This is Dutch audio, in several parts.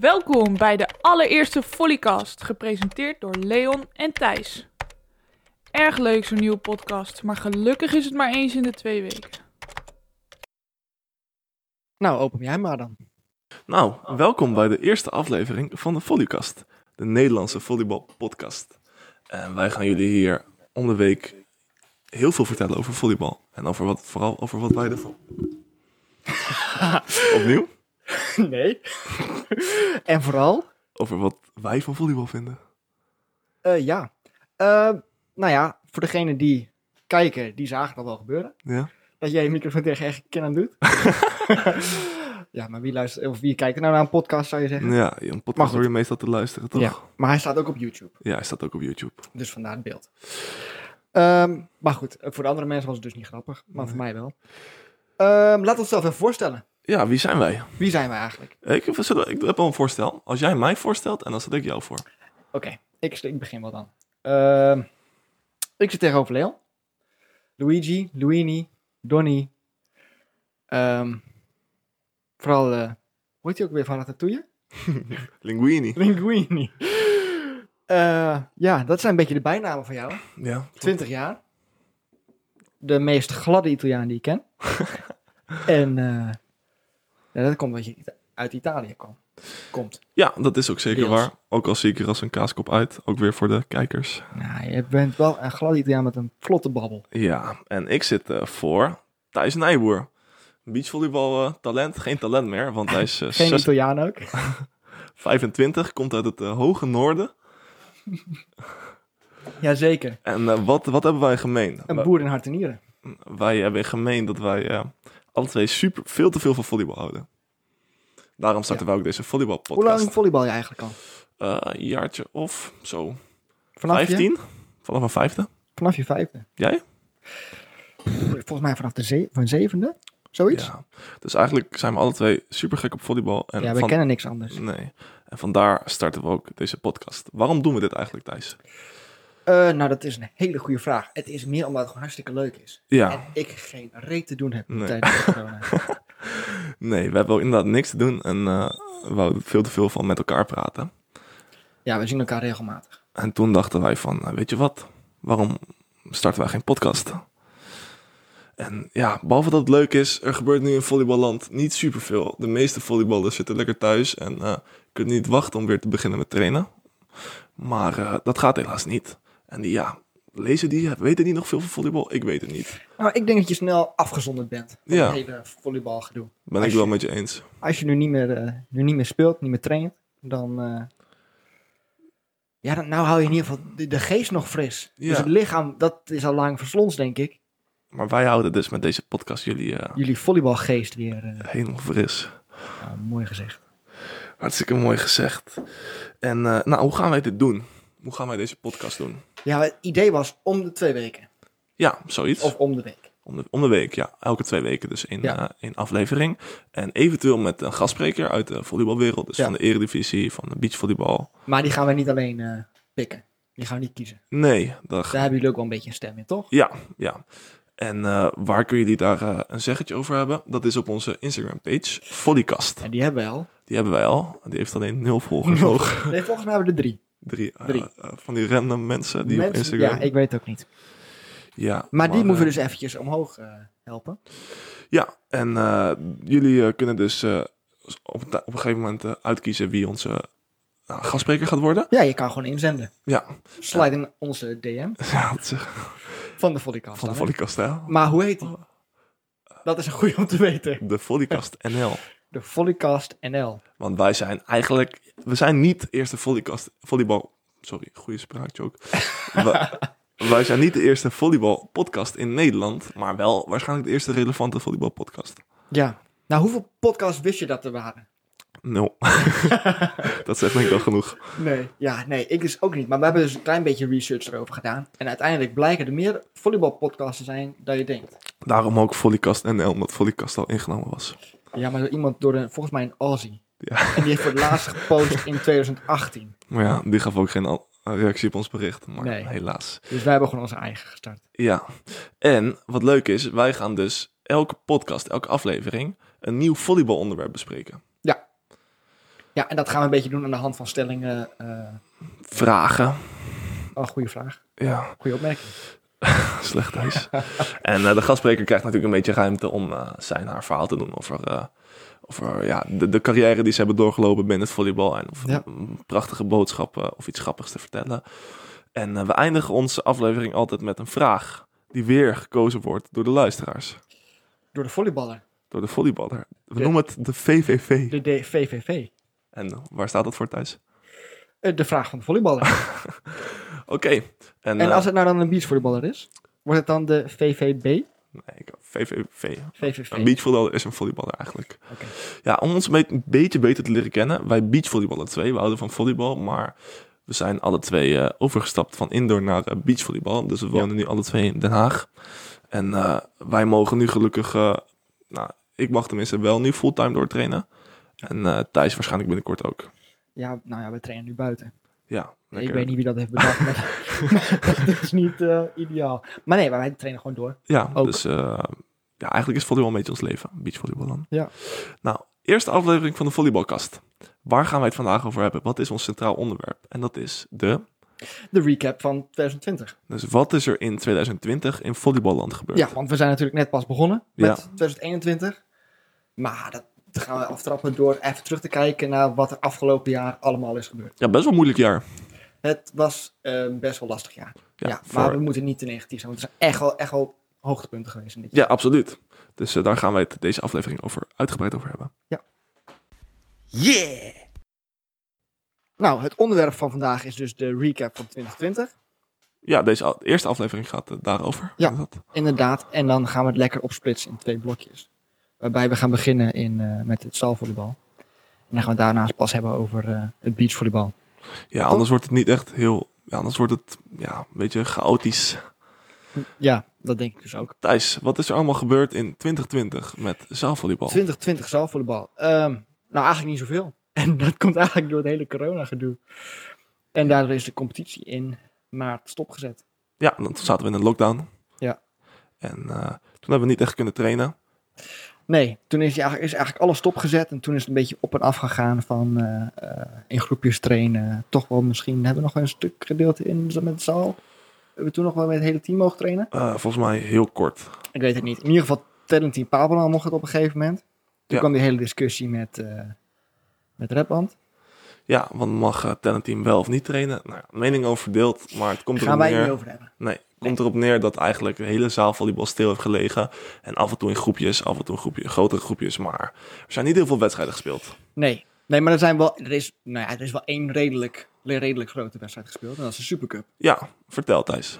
Welkom bij de allereerste Follycast, gepresenteerd door Leon en Thijs. Erg leuk zo'n nieuwe podcast, maar gelukkig is het maar eens in de twee weken. Nou, open jij maar dan. Nou, welkom bij de eerste aflevering van de Volleycast, de Nederlandse volleybalpodcast. En wij gaan jullie hier om de week heel veel vertellen over volleybal. En over wat, vooral over wat wij ervan. Opnieuw? Nee. en vooral, Over wat wij van volleybal vinden. eh, ja. Eh, nou ja, voor degenen die kijken, die zagen dat wel gebeuren. Ja? Dat jij je microfoon tegen eigen kin aan doet. ja, maar wie luistert, of wie kijkt er nou naar een podcast, zou je zeggen? Ja, een Maar podcast goed. hoor je meestal te luisteren, toch? Ja, maar hij staat ook op YouTube, Ja, hij staat ook op YouTube. dus vandaar het beeld. Ehm, maar goed, ook voor de andere mensen was het dus niet grappig, maar voor mij wel. Ehm laat ons zelf even voorstellen. Ja, wie zijn wij? Wie zijn wij eigenlijk? Ik, zullen we- ik heb al een voorstel. Als jij mij voorstelt, en dan zet ik jou voor. Oké, ik, ik begin wel dan. Ehm, ik zit tegenover Leon. Luigi, Luini, Donny. Ehm, vooral, eh, hoe heet hij ook weer van Ratatouille? Linguini. Linguini. Eh, ja, dat zijn een beetje de bijnamen van jou. Ja. 20 jaar. De meest gladde Italiaan die ik ken. en eh, ja, dat komt omdat je uit Italië kwam. komt. Ja, dat is ook zeker Deels. waar. Ook al zie ik er als een kaaskop uit. Ook weer voor de kijkers. Nou, je bent wel een gladde Italiaan met een vlotte babbel. Ja, en ik zit eh, voor Thijs Nijboer. Beachvolleybal eh, talent, geen talent meer, want hij is eh, Geen zes- Italiaan ook. 25, komt uit het eh, hoge noorden. Jazeker. En eh, wat, wat hebben wij in gemeen? Een Wa- boer in hart en nieren. Wij hebben in gemeen dat wij eh, alle twee super, veel te veel van volleybal houden. Daarom starten wij ook deze Hoe volleybalpodcast. lang volleybal je eigenlijk al? Eh, een jaartje of zo. Vanaf Je, 15? Vanaf een vijfde? vanaf je vijfde. Jij? Volgens mij vanaf de ze van zevende. Zoiets. Ja, Ja. Dus eigenlijk zijn we alle twee super gek op volleybal. En wij van- kennen niks anders. Nee. En vandaar starten we ook deze podcast. Waarom doen we dit eigenlijk, Thijs? Eh, nou, dat is een hele goede vraag. Het is meer omdat het gewoon hartstikke leuk is. Ja, En ik geen reet te doen heb Nee. tijdens de corona. nee, we hebben inderdaad niks te doen en eh, we wouden veel te veel van met elkaar praten. ja, we zien elkaar regelmatig. En toen dachten wij van, eh, weet je wat, waarom starten wij geen podcast? En ja, behalve dat het leuk is, er gebeurt nu in volleyballand niet superveel. De meeste volleyballers zitten lekker thuis en eh, kunnen niet wachten om weer te beginnen met trainen. Maar eh, dat gaat helaas niet. En die, ja, lezen die, weten die nog veel van volleybal? Ik weet het niet. Nou, ik denk dat je snel afgezonderd bent. Van Ja. het hele volleybalgedoe. Ben Als ik je- wel met je eens. Als je nu niet meer, eh, nu niet meer speelt, niet meer traint, dan... eh, ja, dan, nou hou je in ieder geval de, de geest nog fris. Ja. Dus het lichaam, dat is al lang verslons, denk ik. Maar wij houden dus met deze podcast jullie eh jullie volleybalgeest weer. eh, helemaal fris. nou, mooi gezegd. Hartstikke mooi gezegd. En eh, nou, hoe gaan wij dit doen? Hoe gaan wij deze podcast doen? Ja, het idee was om de twee weken. Ja, zoiets. Of om de week. Om, de, om de week, ja. Elke twee weken dus in, Ja. eh, in aflevering. En eventueel met een gastspreker uit de volleybalwereld. Dus Ja. van de eredivisie, van de beachvolleybal. Maar die gaan we niet alleen eh, pikken. Die gaan we niet kiezen. Nee, daar, Daar hebben jullie ook wel een beetje een stem in, toch? Ja, ja. En eh, waar kun je die daar eh, een zeggetje over hebben? Dat is op onze Instagram-page, Volleycast. En die hebben we al. Die hebben wij al. Die heeft alleen nul volgers nog. Nee, volgens mij hebben we er drie. Drie, eh, Drie. eh, van die random mensen die op Mensen- Instagram... Ja, ik weet het ook niet. Ja, Maar die moeten eh, we dus eventjes omhoog eh, helpen. Ja, en eh, jullie eh, kunnen dus eh, op, op een gegeven moment eh, uitkiezen wie onze nou, gastspreker gaat worden. Ja, je kan gewoon inzenden. Ja, Slide in onze DM ja dat is eh, van de Volleykast. van de dan, hè? Volleykast, hè? Maar hoe heet die? Dat is een goede om te weten. De Volleykast NL. De Volleycast NL. Want wij zijn eigenlijk, we zijn niet de eerste Volleykast, volleybal, sorry, goede spraakjoke. wij, wij zijn niet de eerste volleybalpodcast in Nederland, maar wel waarschijnlijk de eerste relevante volleybalpodcast. Ja. Nou, hoeveel podcasts wist je dat er waren? Nul. dat zegt denk ik al genoeg. Nee. Ja, nee, ik dus ook niet. Maar we hebben dus een klein beetje research erover gedaan. En uiteindelijk blijken er meer volleybalpodcasts te zijn dan je denkt. Daarom ook Volleykast NL, omdat Volleykast al ingenomen was. Ja, maar door iemand door een, volgens mij een Aussie. Ja. En die heeft voor het laatst gepost in 2018. Maar ja, die gaf ook geen al- reactie op ons bericht. Maar Nee. helaas. Dus wij hebben gewoon onze eigen gestart. Ja. En wat leuk is, wij gaan dus elke podcast, elke aflevering, een nieuw volleybalonderwerp bespreken. Ja. Ja, en dat gaan we een beetje doen aan de hand van stellingen. eh, Vragen. oh, goede vraag. Ja, Goede opmerking. slecht thuis. en eh, de gastspreker krijgt natuurlijk een beetje ruimte om eh, zijn haar verhaal te doen over, eh, over ja, de, de carrière die ze hebben doorgelopen binnen het volleybal. En of Ja. een prachtige boodschappen of iets grappigs te vertellen. En eh, we eindigen onze aflevering altijd met een vraag die weer gekozen wordt door de luisteraars. Door de volleyballer. Door de volleyballer. We De- noemen het de VVV. De D- VVV. En eh, waar staat dat voor thuis? Eh, De vraag van de volleyballer. Oké. En, en eh, als het nou dan een beachvolleyballer is, wordt het dan de VVB? nee, ik- VVV. VVV. Een beachvolleyballer is een volleyballer eigenlijk. Oké. Ja, om ons een be- een beetje beter te leren kennen. Wij beachvolleyballen twee. We houden van volleybal, maar we zijn alle twee eh, overgestapt van indoor naar eh, beachvolleybal. Dus we wonen nu alle twee in Den Haag. En eh, wij mogen nu gelukkig, eh, nou, ik mag tenminste wel nu fulltime doortrainen. En eh, Thijs waarschijnlijk binnenkort ook. Ja, nou ja, we trainen nu buiten. Ja, Ik lekker. weet niet wie dat heeft bedacht, maar dat is niet eh, ideaal. Maar nee, maar wij trainen gewoon door. Ja, Ook. dus eh, ja, eigenlijk is volleybal een beetje ons leven. Beachvolleybal dan. Ja. Nou, eerste aflevering van de volleybalkast. Waar gaan wij het vandaag over hebben? Wat is ons centraal onderwerp? En dat is de... De recap van 2020. Dus wat is er in 2020 in volleyballand gebeurd? Ja, want we zijn natuurlijk net pas begonnen met Ja. 2021. Maar dat gaan we aftrappen door even terug te kijken naar wat er afgelopen jaar allemaal is gebeurd. Ja, best wel een moeilijk jaar. Het was een best wel lastig jaar. Ja, Ja, maar voor- we moeten niet te negatief zijn, want er zijn echt wel, echt wel hoogtepunten geweest in dit ja absoluut. Dus eh, daar gaan wij het deze aflevering over uitgebreid over hebben. Yeah! Nou, het onderwerp van vandaag is dus de recap van 2020. Ja, deze a- eerste aflevering gaat eh, daarover. Ja. Is dat? Inderdaad, en dan gaan we het lekker opsplitsen in twee blokjes. Waarbij we gaan beginnen in, eh, met het zaalvolleybal. En dan gaan we daarnaast pas hebben over eh, het beachvolleybal. ja anders wordt het niet echt heel... Ja, anders wordt het ja, een beetje chaotisch. Ja, dat denk ik dus ook. Thijs, wat is er allemaal gebeurd in 2020 met zaalvolleybal? 2020 zaalvolleybal. Ehm nou, eigenlijk niet zoveel. En dat komt eigenlijk door het hele corona-gedoe. En daardoor is de competitie in maart stopgezet. Ja, dan zaten we in een lockdown. Ja. En eh, toen hebben we niet echt kunnen trainen. Nee, toen is, die eigenlijk, is eigenlijk alles stopgezet. En toen is het een beetje op en af gegaan van eh, eh, in groepjes trainen. Toch wel misschien hebben we nog een stuk gedeelte in met de zaal. Hebben we toen nog wel met het hele team mogen trainen? Eh, volgens mij heel kort. Ik weet het niet. In ieder geval, Talent Team Papelnaam mocht het op een gegeven moment. Toen Ja. kwam die hele discussie met, eh met Redband. Ja, want mag uh, Team wel of niet trainen? Nou, ja, mening over verdeeld, maar het komt Gaan erop wij het neer. niet over hebben. Nee, het komt erop neer dat eigenlijk de hele zaal volleybal stil heeft gelegen. En af en toe in groepjes, af en toe in groepje, grotere groepjes. Maar er zijn niet heel veel wedstrijden gespeeld. Nee. Nee, maar er, zijn wel, er, is, nou ja, er is wel één redelijk, redelijk grote wedstrijd gespeeld. En dat is de Supercup. Ja, vertel Thijs.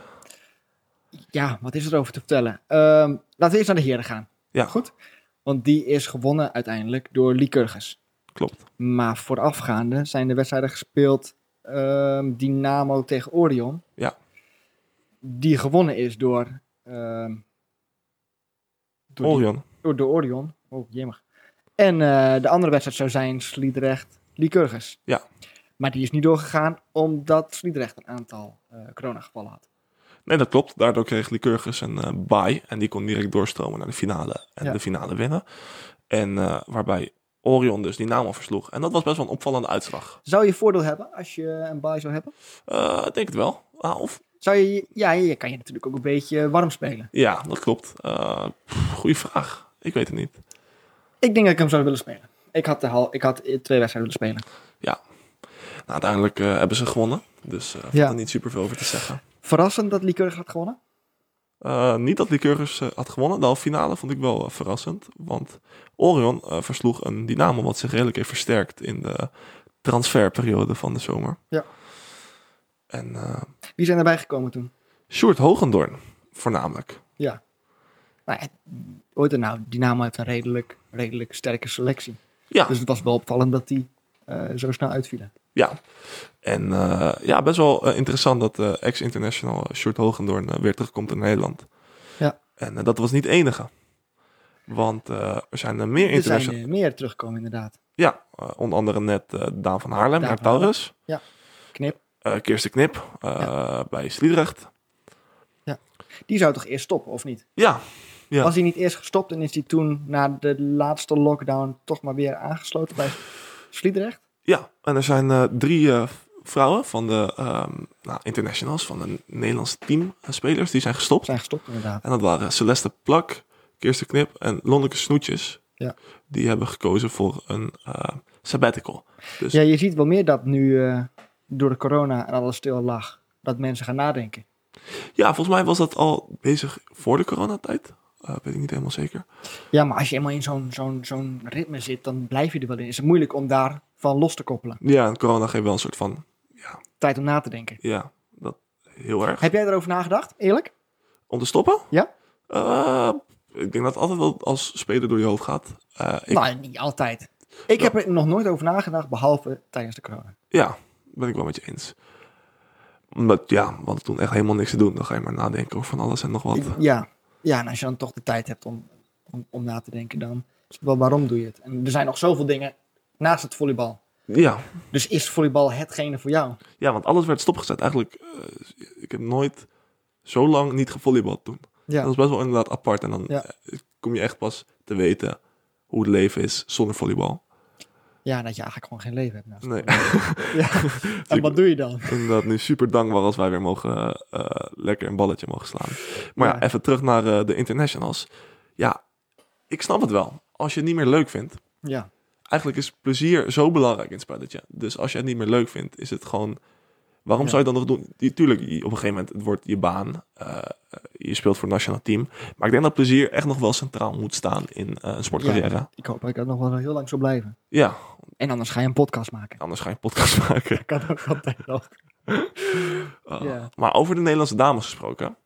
Ja, wat is er over te vertellen? Ehm, laten we eerst naar de heren gaan. Ja. Goed. Want die is gewonnen uiteindelijk door Lycurgus. Klopt. Maar voorafgaande zijn de wedstrijden gespeeld ehm, Dynamo tegen Orion. Ja. Die gewonnen is door... ehm, door die- Orion. door de Orion. Oh, jemmer. En eh, de andere wedstrijd zou zijn Sliedrecht, Lycurgus. Ja. Maar die is niet doorgegaan omdat Sliedrecht een aantal eh coronagevallen had. Nee, dat klopt. Daardoor kreeg Lycurgus een eh bye. En die kon direct doorstromen naar de finale. En Ja. de finale winnen. En eh, waarbij Orion dus Dynamo versloeg. En dat was best wel een opvallende uitslag. Zou je voordeel hebben als je een bye zou hebben? Eh, ik denk het wel. Ah, of Zou je, ja, je kan je natuurlijk ook een beetje warm spelen. Ja, dat klopt. Eh, pff, goeie vraag. Ik weet het niet. Ik denk dat ik hem zou willen spelen. Ik had, de hal, ik had twee wedstrijden willen spelen. Nou, uiteindelijk eh, hebben ze gewonnen. Dus eh valt Ja. er niet super veel over te zeggen. Verrassend dat Lycurgus had gewonnen. Eh, niet dat Lycurgus eh, had gewonnen. De halve finale vond ik wel eh, verrassend. Want Orion eh, versloeg een Dynamo wat zich redelijk heeft versterkt in de transferperiode van de zomer. Ja. En eh Wie zijn erbij gekomen toen? Sjoerd Hogendorn voornamelijk. Nou, het, ooit en nou, Dynamo heeft een redelijk, redelijk sterke selectie. Ja. Dus het was wel opvallend dat die eh, zo snel uitvielen. Ja. En eh, ja, best wel eh, interessant dat eh, ex-international eh, Sjoerd Hogendoorn eh, weer terugkomt in Nederland. Ja. En eh, dat was niet het enige. Want eh, er zijn er meer Er zijn international... eh, meer terugkomen inderdaad. Ja, eh, onder andere net eh, Daan van Haarlem Daan naar van Haarlem. Taurus. Knip. Eh, Kirsten Knip eh, bij Sliedrecht. Die zou toch eerst stoppen, of niet? Ja, Ja. Was hij niet eerst gestopt en is hij toen na de laatste lockdown toch maar weer aangesloten bij Sliedrecht? Ja, en er zijn eh, drie eh, vrouwen van de ehm, nou, internationals, van de Nederlandse teamspelers, die zijn gestopt. zijn gestopt inderdaad. En dat waren Celeste Plak, Kirsten Knip en Lonneke Snoetjes. Ja. Die hebben gekozen voor een eh, sabbatical. Dus Ja, je ziet wel meer dat nu eh, door de corona en alles stil lag, dat mensen gaan nadenken. Ja, volgens mij was dat al bezig voor de coronatijd. Eh weet ik niet helemaal zeker. Ja, maar als je eenmaal in zo'n zo'n zo'n ritme zit, dan blijf je er wel in. Is het moeilijk om daarvan los te koppelen. Ja, en corona geeft wel een soort van, Tijd om na te denken. ja, dat heel erg. Heb jij erover nagedacht, eerlijk? Om te stoppen? Ja. Eh, ik denk dat het altijd wel als speler door je hoofd gaat. Eh, ik, Nou, niet altijd. Ik heb er nog nooit over nagedacht, behalve tijdens de corona. Ja, ben ik wel met je eens. Omdat, ja, want toen echt helemaal niks te doen. Dan ga je maar nadenken over van alles en nog wat. Ik- ja. ja, en als je dan toch de tijd hebt om, om, om na te denken, dan is het wel waarom doe je het? En er zijn nog zoveel dingen naast het volleybal. Ja, Dus is volleybal hetgene voor jou? ja want alles werd stopgezet. Eigenlijk, eh, ik heb nooit zo lang niet gevolleybald toen. Ja. Dat is best wel inderdaad apart. En dan Ja. eh, kom je echt pas te weten hoe het leven is zonder volleybal. ja, dat je eigenlijk gewoon geen leven hebt. naast Nee. het volleybal. Ja. En wat doe je dan? Inderdaad, nu super dankbaar als wij weer mogen eh, lekker een balletje mogen slaan. Maar ja, Ja. even terug naar eh, de internationals. Ja, ik snap het wel. Als je het niet meer leuk vindt. Ja, Eigenlijk is plezier zo belangrijk in het spelletje. Dus als je het niet meer leuk vindt, is het gewoon... Waarom Ja. zou je dan nog doen? Die- Tuurlijk, je- op een gegeven moment het wordt je baan. eh, je speelt voor het nationaal team. Maar ik denk dat plezier echt nog wel centraal moet staan in eh, een sportcarrière. Ja. ik hoop dat ik dat nog wel heel lang zo blijven. En anders ga je een podcast maken. anders ga je een podcast maken. Dat kan ook altijd nog. Uh, Ja. Maar over de Nederlandse dames gesproken.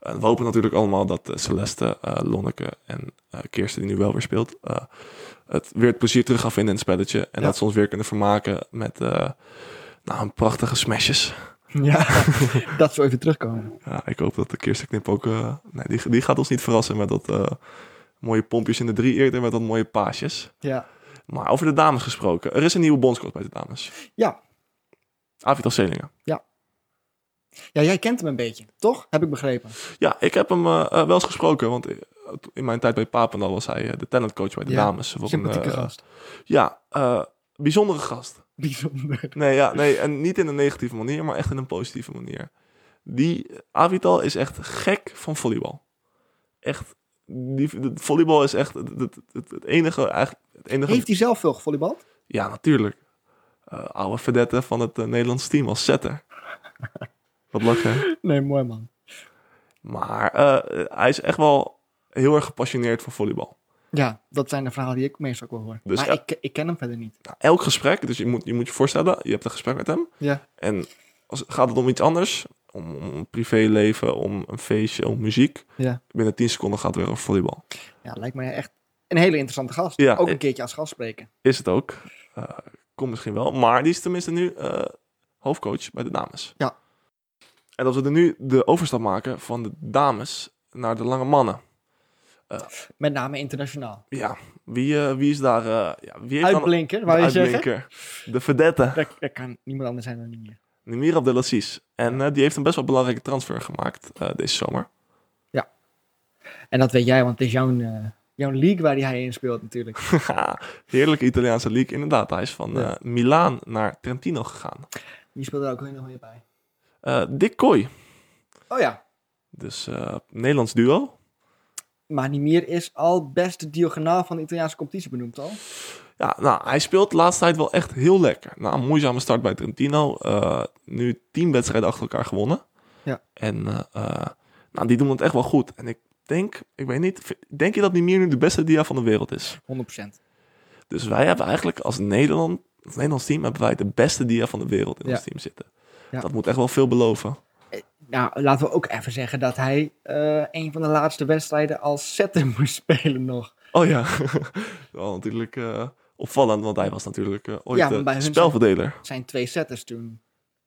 Eh, we hopen natuurlijk allemaal dat eh, Celeste, eh, Lonneke en eh, Kirsten, die nu wel weer speelt, eh, het weer het plezier terug gaan vinden in het spelletje. En Ja. dat ze ons weer kunnen vermaken met eh, nou, een prachtige smashes. Ja, dat zo even terugkomen. Ja, ik hoop dat de Kirsten Knip ook... eh, nee, die, die gaat ons niet verrassen met dat eh, mooie pompjes in de drie eerder, met dat mooie paasjes. Ja. Maar over de dames gesproken. Er is een nieuwe bondscoach bij de dames. Ja. Avital Selingen. ja, jij kent hem een beetje, toch? Heb ik begrepen. Ja, ik heb hem eh, eh, wel eens gesproken, want eh, in mijn tijd bij Papendal was hij eh, de talentcoach bij de Ja, dames. Wat een, Sympathieke eh, gast. Ja, eh, bijzondere gast. Bijzonder. Nee, ja, nee, en niet in een negatieve manier, maar echt in een positieve manier. Die Avital is echt gek van volleybal. Echt, die, de- volleybal is echt het, het, het, het enige, eigenlijk, het enige... Heeft hij zelf veel gevolleybald? Ja, natuurlijk. Eh, oude vedette van het eh, Nederlands team als setter. Wat lachen. Nee, mooi man. Maar eh, hij is echt wel heel erg gepassioneerd voor volleybal. Ja, dat zijn de verhalen die ik meestal ook wel hoor. Dus maar ja. ik, ik ken hem verder niet. Nou, elk gesprek, dus je moet, je moet je voorstellen, je hebt een gesprek met hem. Ja. En als, gaat het om iets anders, om, om een privéleven, om een feestje, om muziek. Ja. Binnen 10 seconden gaat het weer over volleybal. Ja, lijkt me echt een hele interessante gast. Ja, ook een ik- keertje als gast spreken. Is het ook. Eh Komt misschien wel. Maar die is tenminste nu eh, hoofdcoach bij de dames. Ja. En dat we er nu de overstap maken van de dames naar de lange mannen. Met name internationaal. Ja, wie, eh, wie is daar... eh, ja, wie heeft dan Uitblinker, wou de je zeggen? uitblinker? De vedette. Dat, dat kan niemand anders zijn dan hier. Nimir Abdelaziz. En eh, die heeft een best wel belangrijke transfer gemaakt eh, deze zomer. En dat weet jij, want het is jouw, eh, jouw league waar hij in speelt natuurlijk. Haha, Heerlijke Italiaanse league, inderdaad. Hij is van Ja. eh, Milaan naar Trentino gegaan. Die speelt er ook heel mooi bij. Eh Dick Kooi, Oh ja, dus eh, Nederlands duo. maar Nimir is al beste diagonaal van de Italiaanse competitie benoemd al. Ja, nou, hij speelt de laatste tijd wel echt heel lekker. Na een moeizame start bij Trentino, eh, nu tien wedstrijden achter elkaar gewonnen. Ja. En eh, eh, nou, die doen het echt wel goed. En ik denk, ik weet niet, v- denk je dat Nimir nu de beste dia van de wereld is? 100%. Dus wij hebben eigenlijk als Nederland, als Nederlands team, hebben wij de beste dia van de wereld in Ja. ons team zitten. Ja. Dat moet echt wel veel beloven. Nou, laten we ook even zeggen dat hij eh, een van de laatste wedstrijden als setter moest spelen nog. Oh ja, wel natuurlijk eh, opvallend, want hij was natuurlijk eh, ooit Ja, ja, want bij hun zijn- spelverdeler. Zijn twee setters toen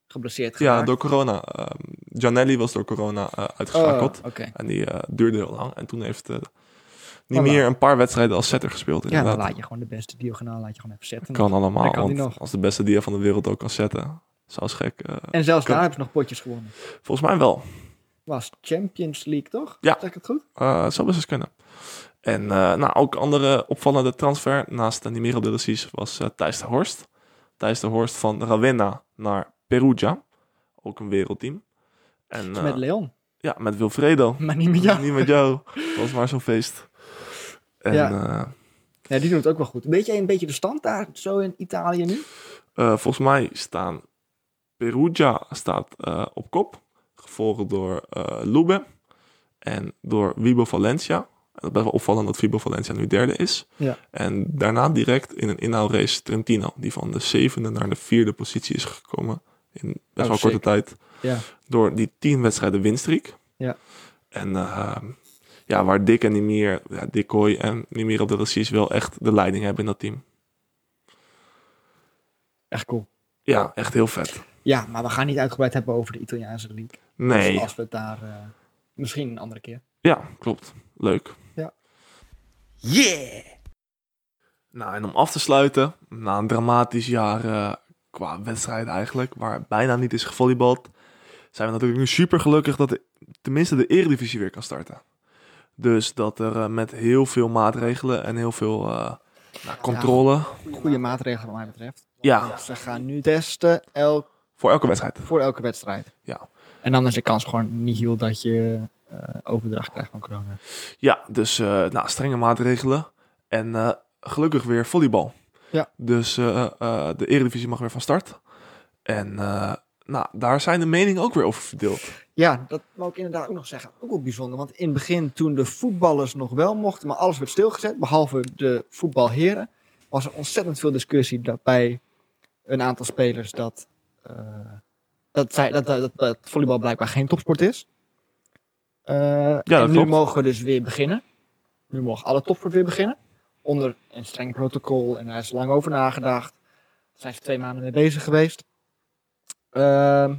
geblesseerd geraakt. Ja, door corona. ehm Gianelli was door corona eh, Oh, uitgeschakeld. oké. En die eh, duurde heel lang. En toen heeft eh, niet Voilà. meer een paar wedstrijden als setter gespeeld. Ja, dan Inderdaad. laat je gewoon de beste diagonaal laat je gewoon even zetten. Kan allemaal, Dan kan die want nog. als de beste dia van de wereld ook kan zetten. Zou is gek. eh, En zelfs Kan. daar hebben ze nog potjes gewonnen. volgens mij wel. Was Champions League, toch? Ja. Zeg ik het goed? eh zou best eens kunnen. En eh, nou, ook andere opvallende transfer naast uh, Nimir Abdelaziz was eh, Thijs de Horst. Thijs de Horst van Ravenna naar Perugia. Ook een wereldteam. En, Dat is eh, met Leon, ja, met Wilfredo. maar niet met jou. Niet met jou. Dat was maar zo'n feest. En Ja. eh, Ja, die doen het ook wel goed. Weet jij een beetje de stand daar zo in Italië nu? eh, volgens mij staan Perugia staat, eh, op kop. Gevolgd door eh Lube. En door Vibo Valencia. En dat is best wel opvallend dat Vibo Valencia nu derde is. Ja. En daarna direct in een inhaalrace Trentino. Die van de zevende naar de vierde positie is gekomen. In best Oh, wel korte sick. tijd. Ja. Door die tien wedstrijden winstreek. Ja. En eh, ja, waar Dick en Nimir, ja, Dick Kooi en Nimir op de races wel echt de leiding hebben in dat team. Echt cool. Ja, echt heel vet. Ja, maar we gaan niet uitgebreid hebben over de Italiaanse league. Nee. Dus als we het daar eh, misschien een andere keer. Ja, klopt. Leuk. Yeah! Nou, en om af te sluiten, na een dramatisch jaar eh, qua wedstrijd eigenlijk, waar bijna niet is gevolleybald, zijn we natuurlijk nu super gelukkig dat de- tenminste de Eredivisie weer kan starten. Dus dat er eh, met heel veel maatregelen en heel veel eh, nou, controle. Goede maatregelen wat mij betreft. Ah. Ja, Ze gaan nu testen elk, voor elke wedstrijd. voor elke wedstrijd. Ja. En dan is de kans gewoon niet heel dat je eh, overdracht krijgt van corona. Ja, dus eh, nou, strenge maatregelen. En eh, gelukkig weer volleybal. Ja. Dus eh, eh, de Eredivisie mag weer van start. En eh, nou, daar zijn de meningen ook weer over verdeeld. Ja, dat wou ik inderdaad ook nog zeggen. Ook wel bijzonder, want in het begin toen de voetballers nog wel mochten, maar alles werd stilgezet, behalve de voetbalheren, was er ontzettend veel discussie dat bij een aantal spelers dat, eh, dat, zij, dat, dat, dat, dat volleybal blijkbaar geen topsport is. Eh, en dat nu klopt. mogen we dus weer beginnen. Nu mogen alle topsport weer beginnen. Onder een streng protocol en daar is lang over nagedacht. Daar zijn ze twee maanden mee bezig geweest. Ehm,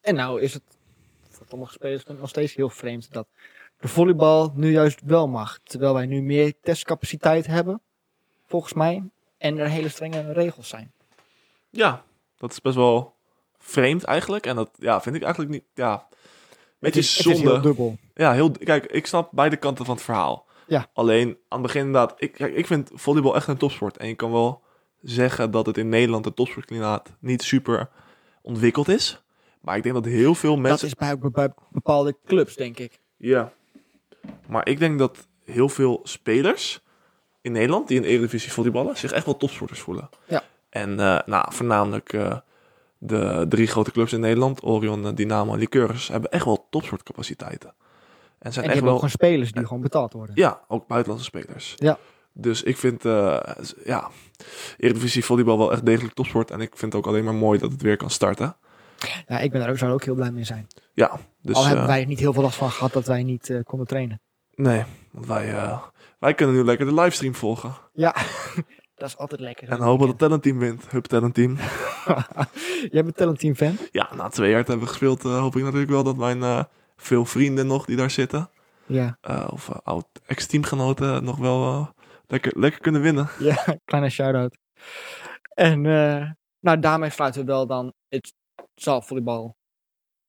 en nou is het voor sommige spelers vind ik nog steeds heel vreemd dat de volleybal nu juist wel mag. Terwijl wij nu meer testcapaciteit hebben, volgens mij. En er hele strenge regels zijn. Ja, dat is best wel vreemd eigenlijk. En dat ja, vind ik eigenlijk niet. Ja, beetje Het is- zonde. Het is heel dubbel. ja, heel, kijk, ik snap beide kanten van het verhaal. Ja. Alleen aan het begin inderdaad, ik, kijk, ik vind volleybal echt een topsport. En je kan wel zeggen dat het in Nederland het topsportklimaat niet super ontwikkeld is. Maar ik denk dat heel veel Dat mensen. is bij, bij bepaalde clubs, denk ik. Ja. Maar ik denk dat heel veel spelers in Nederland die in de Eredivisie volleyballen zich echt wel topsporters voelen. Ja. En eh, nou, voornamelijk eh, de drie grote clubs in Nederland, Orion, eh, Dynamo en Liqueurs, hebben echt wel topsportcapaciteiten. En En zijn die echt hebben ook wel gewoon spelers die gewoon betaald worden. ja, ook buitenlandse spelers. Ja. Dus ik vind, eh ja, Eredivisie volleybal wel echt degelijk topsport. En ik vind het ook alleen maar mooi dat het weer kan starten. Ja, ik ben daar ook, zou er ook heel blij mee zijn. Ja, dus... Al hebben eh, wij er niet heel veel last van gehad dat wij niet eh, konden trainen. Nee, want wij, eh, wij kunnen nu lekker de livestream volgen. Ja, dat is altijd lekker. En hopen dat het talentteam wint. Hup talentteam. Jij bent talentteam fan? Ja, na twee jaar te hebben gespeeld eh, hoop ik natuurlijk wel dat mijn eh, veel vrienden nog die daar zitten. Ja. eh, of eh, oud ex-teamgenoten nog wel eh, lekker, lekker kunnen winnen. Ja, kleine shout-out. En eh, nou, daarmee sluiten we wel dan het zaalvolleybal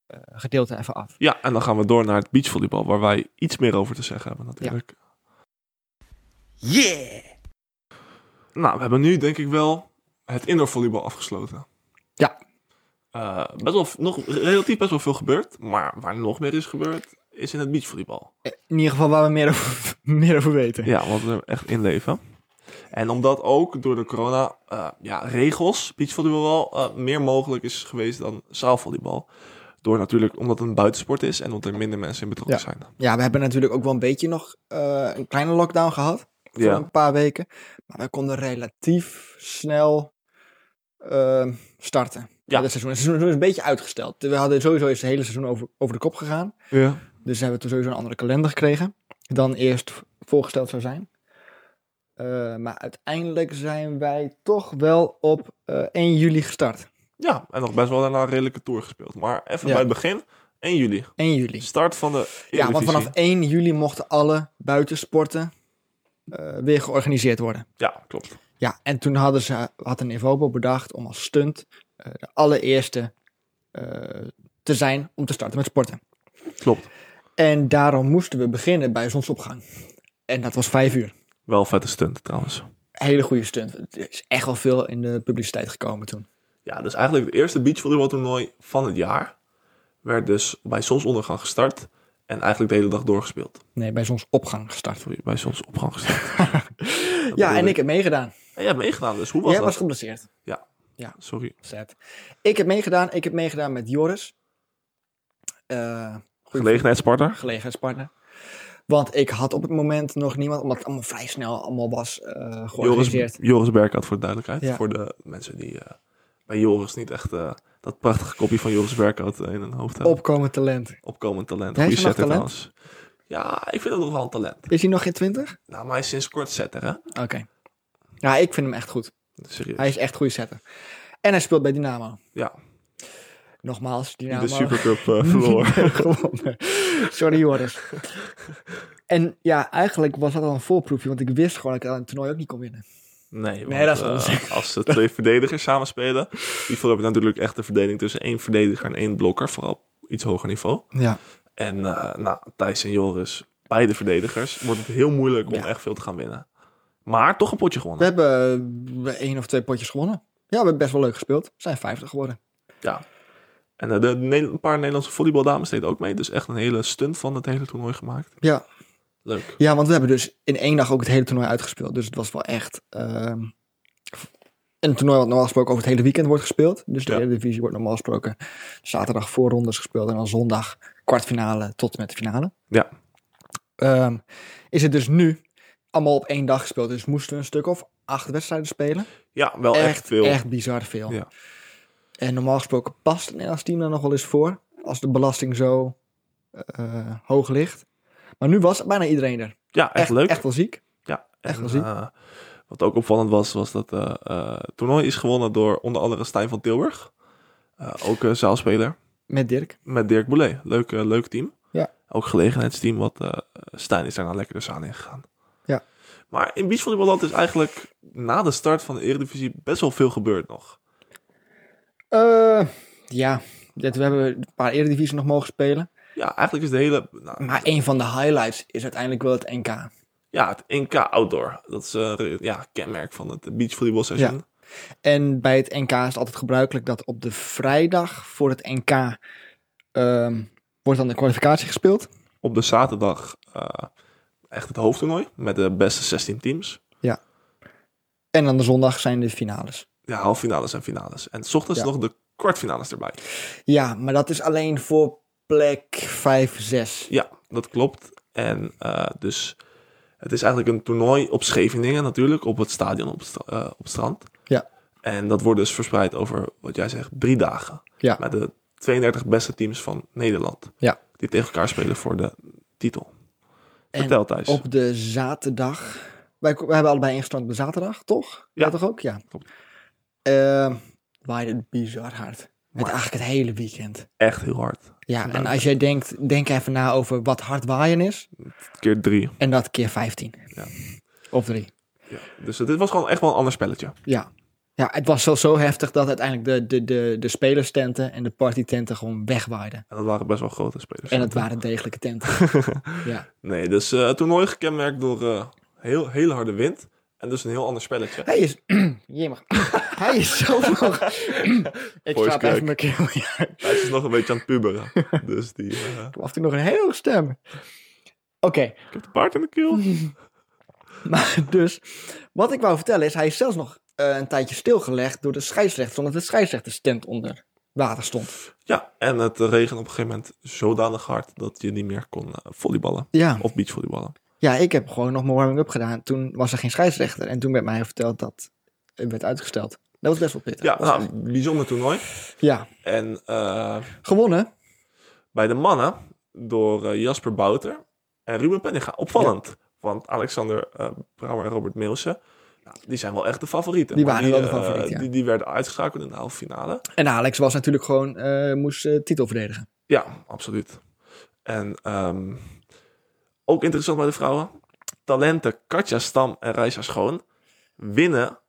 eh, gedeelte even af. Ja, en dan gaan we door naar het beachvolleybal. Waar wij iets meer over te zeggen hebben natuurlijk. Yeah! Nou, we hebben nu denk ik wel het indoorvolleybal afgesloten. Ja. Eh, best wel, nog relatief best wel veel gebeurd. Maar waar nog meer is gebeurd, is in het beachvolleybal. In ieder geval waar we meer over, meer over weten. Ja, want we echt inleven. En omdat ook door de corona eh, ja, regels beachvolleybal wel eh, meer mogelijk is geweest dan zaalvolleybal. Door natuurlijk, omdat het een buitensport is en omdat er minder mensen in betrokken Ja. zijn. Ja, we hebben natuurlijk ook wel een beetje nog eh, een kleine lockdown gehad. Voor Ja. een paar weken. Maar we konden relatief snel eh, starten. Ja. Ja. Het seizoen. Het seizoen is een beetje uitgesteld. We hadden sowieso is het hele seizoen over, over de kop gegaan. Ja. Dus ze hebben toen sowieso een andere kalender gekregen dan eerst v- voorgesteld zou zijn. Eh, maar uiteindelijk zijn wij toch wel op eh, 1 juli gestart. ja, en nog best wel daarna een redelijke tour gespeeld. Maar even Ja. bij het begin, 1 juli. 1 juli. Start van de Ja, want Eredivisie. vanaf 1 juli mochten alle buitensporten eh, weer georganiseerd worden. Ja, klopt. Ja, en toen hadden ze, had een Evobo bedacht om als stunt eh, de allereerste eh, te zijn om te starten met sporten. Klopt. En daarom moesten we beginnen bij zonsopgang. En dat was 5 uur. Wel vette stunt trouwens. hele goede stunt. Het is echt wel veel in de publiciteit gekomen toen. Ja, dus eigenlijk het eerste beachvolleybaltoernooi van het jaar. Werd dus bij zonsondergang gestart. En eigenlijk de hele dag doorgespeeld. Nee, bij zonsopgang gestart. Sorry, bij zonsopgang gestart. Dat Ja, bedoel en ik heb meegedaan. En jij hebt meegedaan, dus hoe was Jij dat? was geblesseerd. Sorry. Zet. Ik heb meegedaan. Ik heb meegedaan met Joris. Eh, Gelegenheidspartner? gelegenheidspartner. Want ik had op het moment nog niemand, omdat het allemaal vrij snel allemaal was eh, Joris, georganiseerd. Joris Berkhout voor de duidelijkheid. Ja. Voor de mensen die eh, bij Joris niet echt eh, dat prachtige kopje van Joris Berkhout eh, in hun hoofd hebben. Opkomend talent. Opkomend talent. Hij is Goeie er nog setter talent? trouwens. Ja, ik vind hem nog wel een talent. Is hij nog geen twintig? Nou, maar hij is sinds kort setter, hè? Oké. Ja, ik vind hem echt goed. Serieus. Hij is echt goede setter. En hij speelt bij Dynamo. Ja. Nogmaals, Dynamo. de Supercup eh, verloor. Gewonnen. Sorry Joris. En ja, eigenlijk was dat al een voorproefje, want ik wist gewoon dat ik aan het toernooi ook niet kon winnen. Nee, want, Nee, dat is eh, onzin. als de twee verdedigers samen spelen, hiervoor heb je natuurlijk echt de verdeling tussen één verdediger en één blokker, vooral op iets hoger niveau. Ja. En eh, nou, Thijs en Joris, beide verdedigers, wordt het heel moeilijk om Ja. echt veel te gaan winnen. Maar toch een potje We gewonnen. hebben eh, één of twee potjes gewonnen. Ja, we hebben best wel leuk gespeeld. We zijn vijftig geworden. En eh, de, Ne- een paar Nederlandse volleybaldames deden ook mee, dus echt een hele stunt van het hele toernooi gemaakt. Ja. Leuk. Ja, want we hebben dus in één dag ook het hele toernooi uitgespeeld. Dus het was wel echt ehm, een toernooi wat normaal gesproken over het hele weekend wordt gespeeld. Dus de Ja. hele divisie wordt normaal gesproken zaterdag voorrondes gespeeld. En dan zondag kwartfinale tot en met de finale. Ja. Ehm, is het dus nu allemaal op één dag gespeeld. Dus moesten we een stuk of acht wedstrijden spelen. Ja, wel echt, veel. Echt bizar veel. Ja. En normaal gesproken past het Nederlands team daar nog wel eens voor. Als de belasting zo eh, hoog ligt. Maar nu was bijna iedereen er. ja, echt, leuk. Echt wel ziek. Ja, Echt en, wel ziek. eh, wat ook opvallend was, was dat eh, eh, het toernooi is gewonnen door onder andere Stijn van Tilburg. Eh, ook eh, zaalspeler Met Dirk. met Dirk Boulet. Leuk, eh, leuk team. Ja. Ook gelegenheidsteam, want eh, Stijn is daarna lekker de zaal ingegaan. Ja. Maar in beachvolleyballand is eigenlijk na de start van de Eredivisie best wel veel gebeurd nog. Eh, ja, dit, we hebben een paar eredivisie nog mogen spelen. Ja, eigenlijk is de hele... nou, Maar een van de highlights is uiteindelijk wel het NK. ja, het NK Outdoor. Dat is eh, re- ja, kenmerk van het beachvolleybal seizoen. En bij het NK is het altijd gebruikelijk dat op de vrijdag voor het NK ehm, wordt dan de kwalificatie gespeeld. op de zaterdag eh, echt het hoofdtoernooi met de beste 16 teams. En aan de zondag zijn de finales. Ja, halffinales en finales. En s ochtends Ja. nog de kwartfinales erbij. Ja, maar dat is alleen voor plek 5, 6. Ja, dat klopt. En eh, dus het is eigenlijk een toernooi op Scheveningen natuurlijk, op het stadion op, het stra- eh, op het strand. Ja. En dat wordt dus verspreid over, wat jij zegt, drie dagen. Ja. Met de 32 beste teams van Nederland. Ja. Die tegen elkaar spelen voor de titel. En Vertel Thijs. Op de zaterdag. Wij, wij hebben allebei ingestand op de zaterdag, toch? Ja. Ja, toch ook? Ja. Klopt. Eh, Waaide het bizar hard. Het, Maar- eigenlijk het hele weekend. Echt heel hard. Ja, en Leuk. als jij denkt, denk even na over wat hard waaien is. Keer drie. En dat keer 15. Ja. Of 3. Ja. Dus dit was gewoon echt wel een ander spelletje. Ja. Ja, het was zelfs zo heftig dat uiteindelijk de, de, de, de spelerstenten en de partytenten gewoon wegwaaiden. En dat waren best wel grote spelers. En het waren degelijke tenten. ja. Nee, dus eh, het toernooi gekenmerkt door eh, heel, hele harde wind. En dus een heel ander spelletje. Hij is... Jemig. Hij is zo nog... ik Voice slaap even crack. mijn keel. Ja. Thijs is nog een beetje aan het puberen. Dus die... eh, Ik af en toe nog een heel hoge stem. Oké, ik heb de paard in de keel. maar dus... Wat ik wou vertellen is, hij is zelfs nog eh, een tijdje stilgelegd door de scheidsrechter. Omdat de scheidsrechterstent onder water stond. Ja, en het regen op een gegeven moment zodanig hard dat je niet meer kon eh, volleyballen. Ja. Of beachvolleyballen. ja, ik heb gewoon nog mijn warming-up gedaan. Toen was er geen scheidsrechter. En toen werd mij verteld dat het werd uitgesteld. Dat was best wel pittig. Ja, nou, bijzonder toernooi. Ja. En eh, Gewonnen. bij de mannen door eh, Jasper Bouter en Ruben Penninga. Opvallend. Want Alexander eh, Brouwer en Robert Meelsen, nou, die zijn wel echt de favorieten. Die Maar waren wel de eh, favoriet, ja. die, die werden uitgeschakeld in de halve finale. En Alex was natuurlijk gewoon... eh, moest eh, titel verdedigen. Ja, absoluut. En ehm, ook interessant bij de vrouwen. Talenten Katja Stam en Reisa Schoon winnen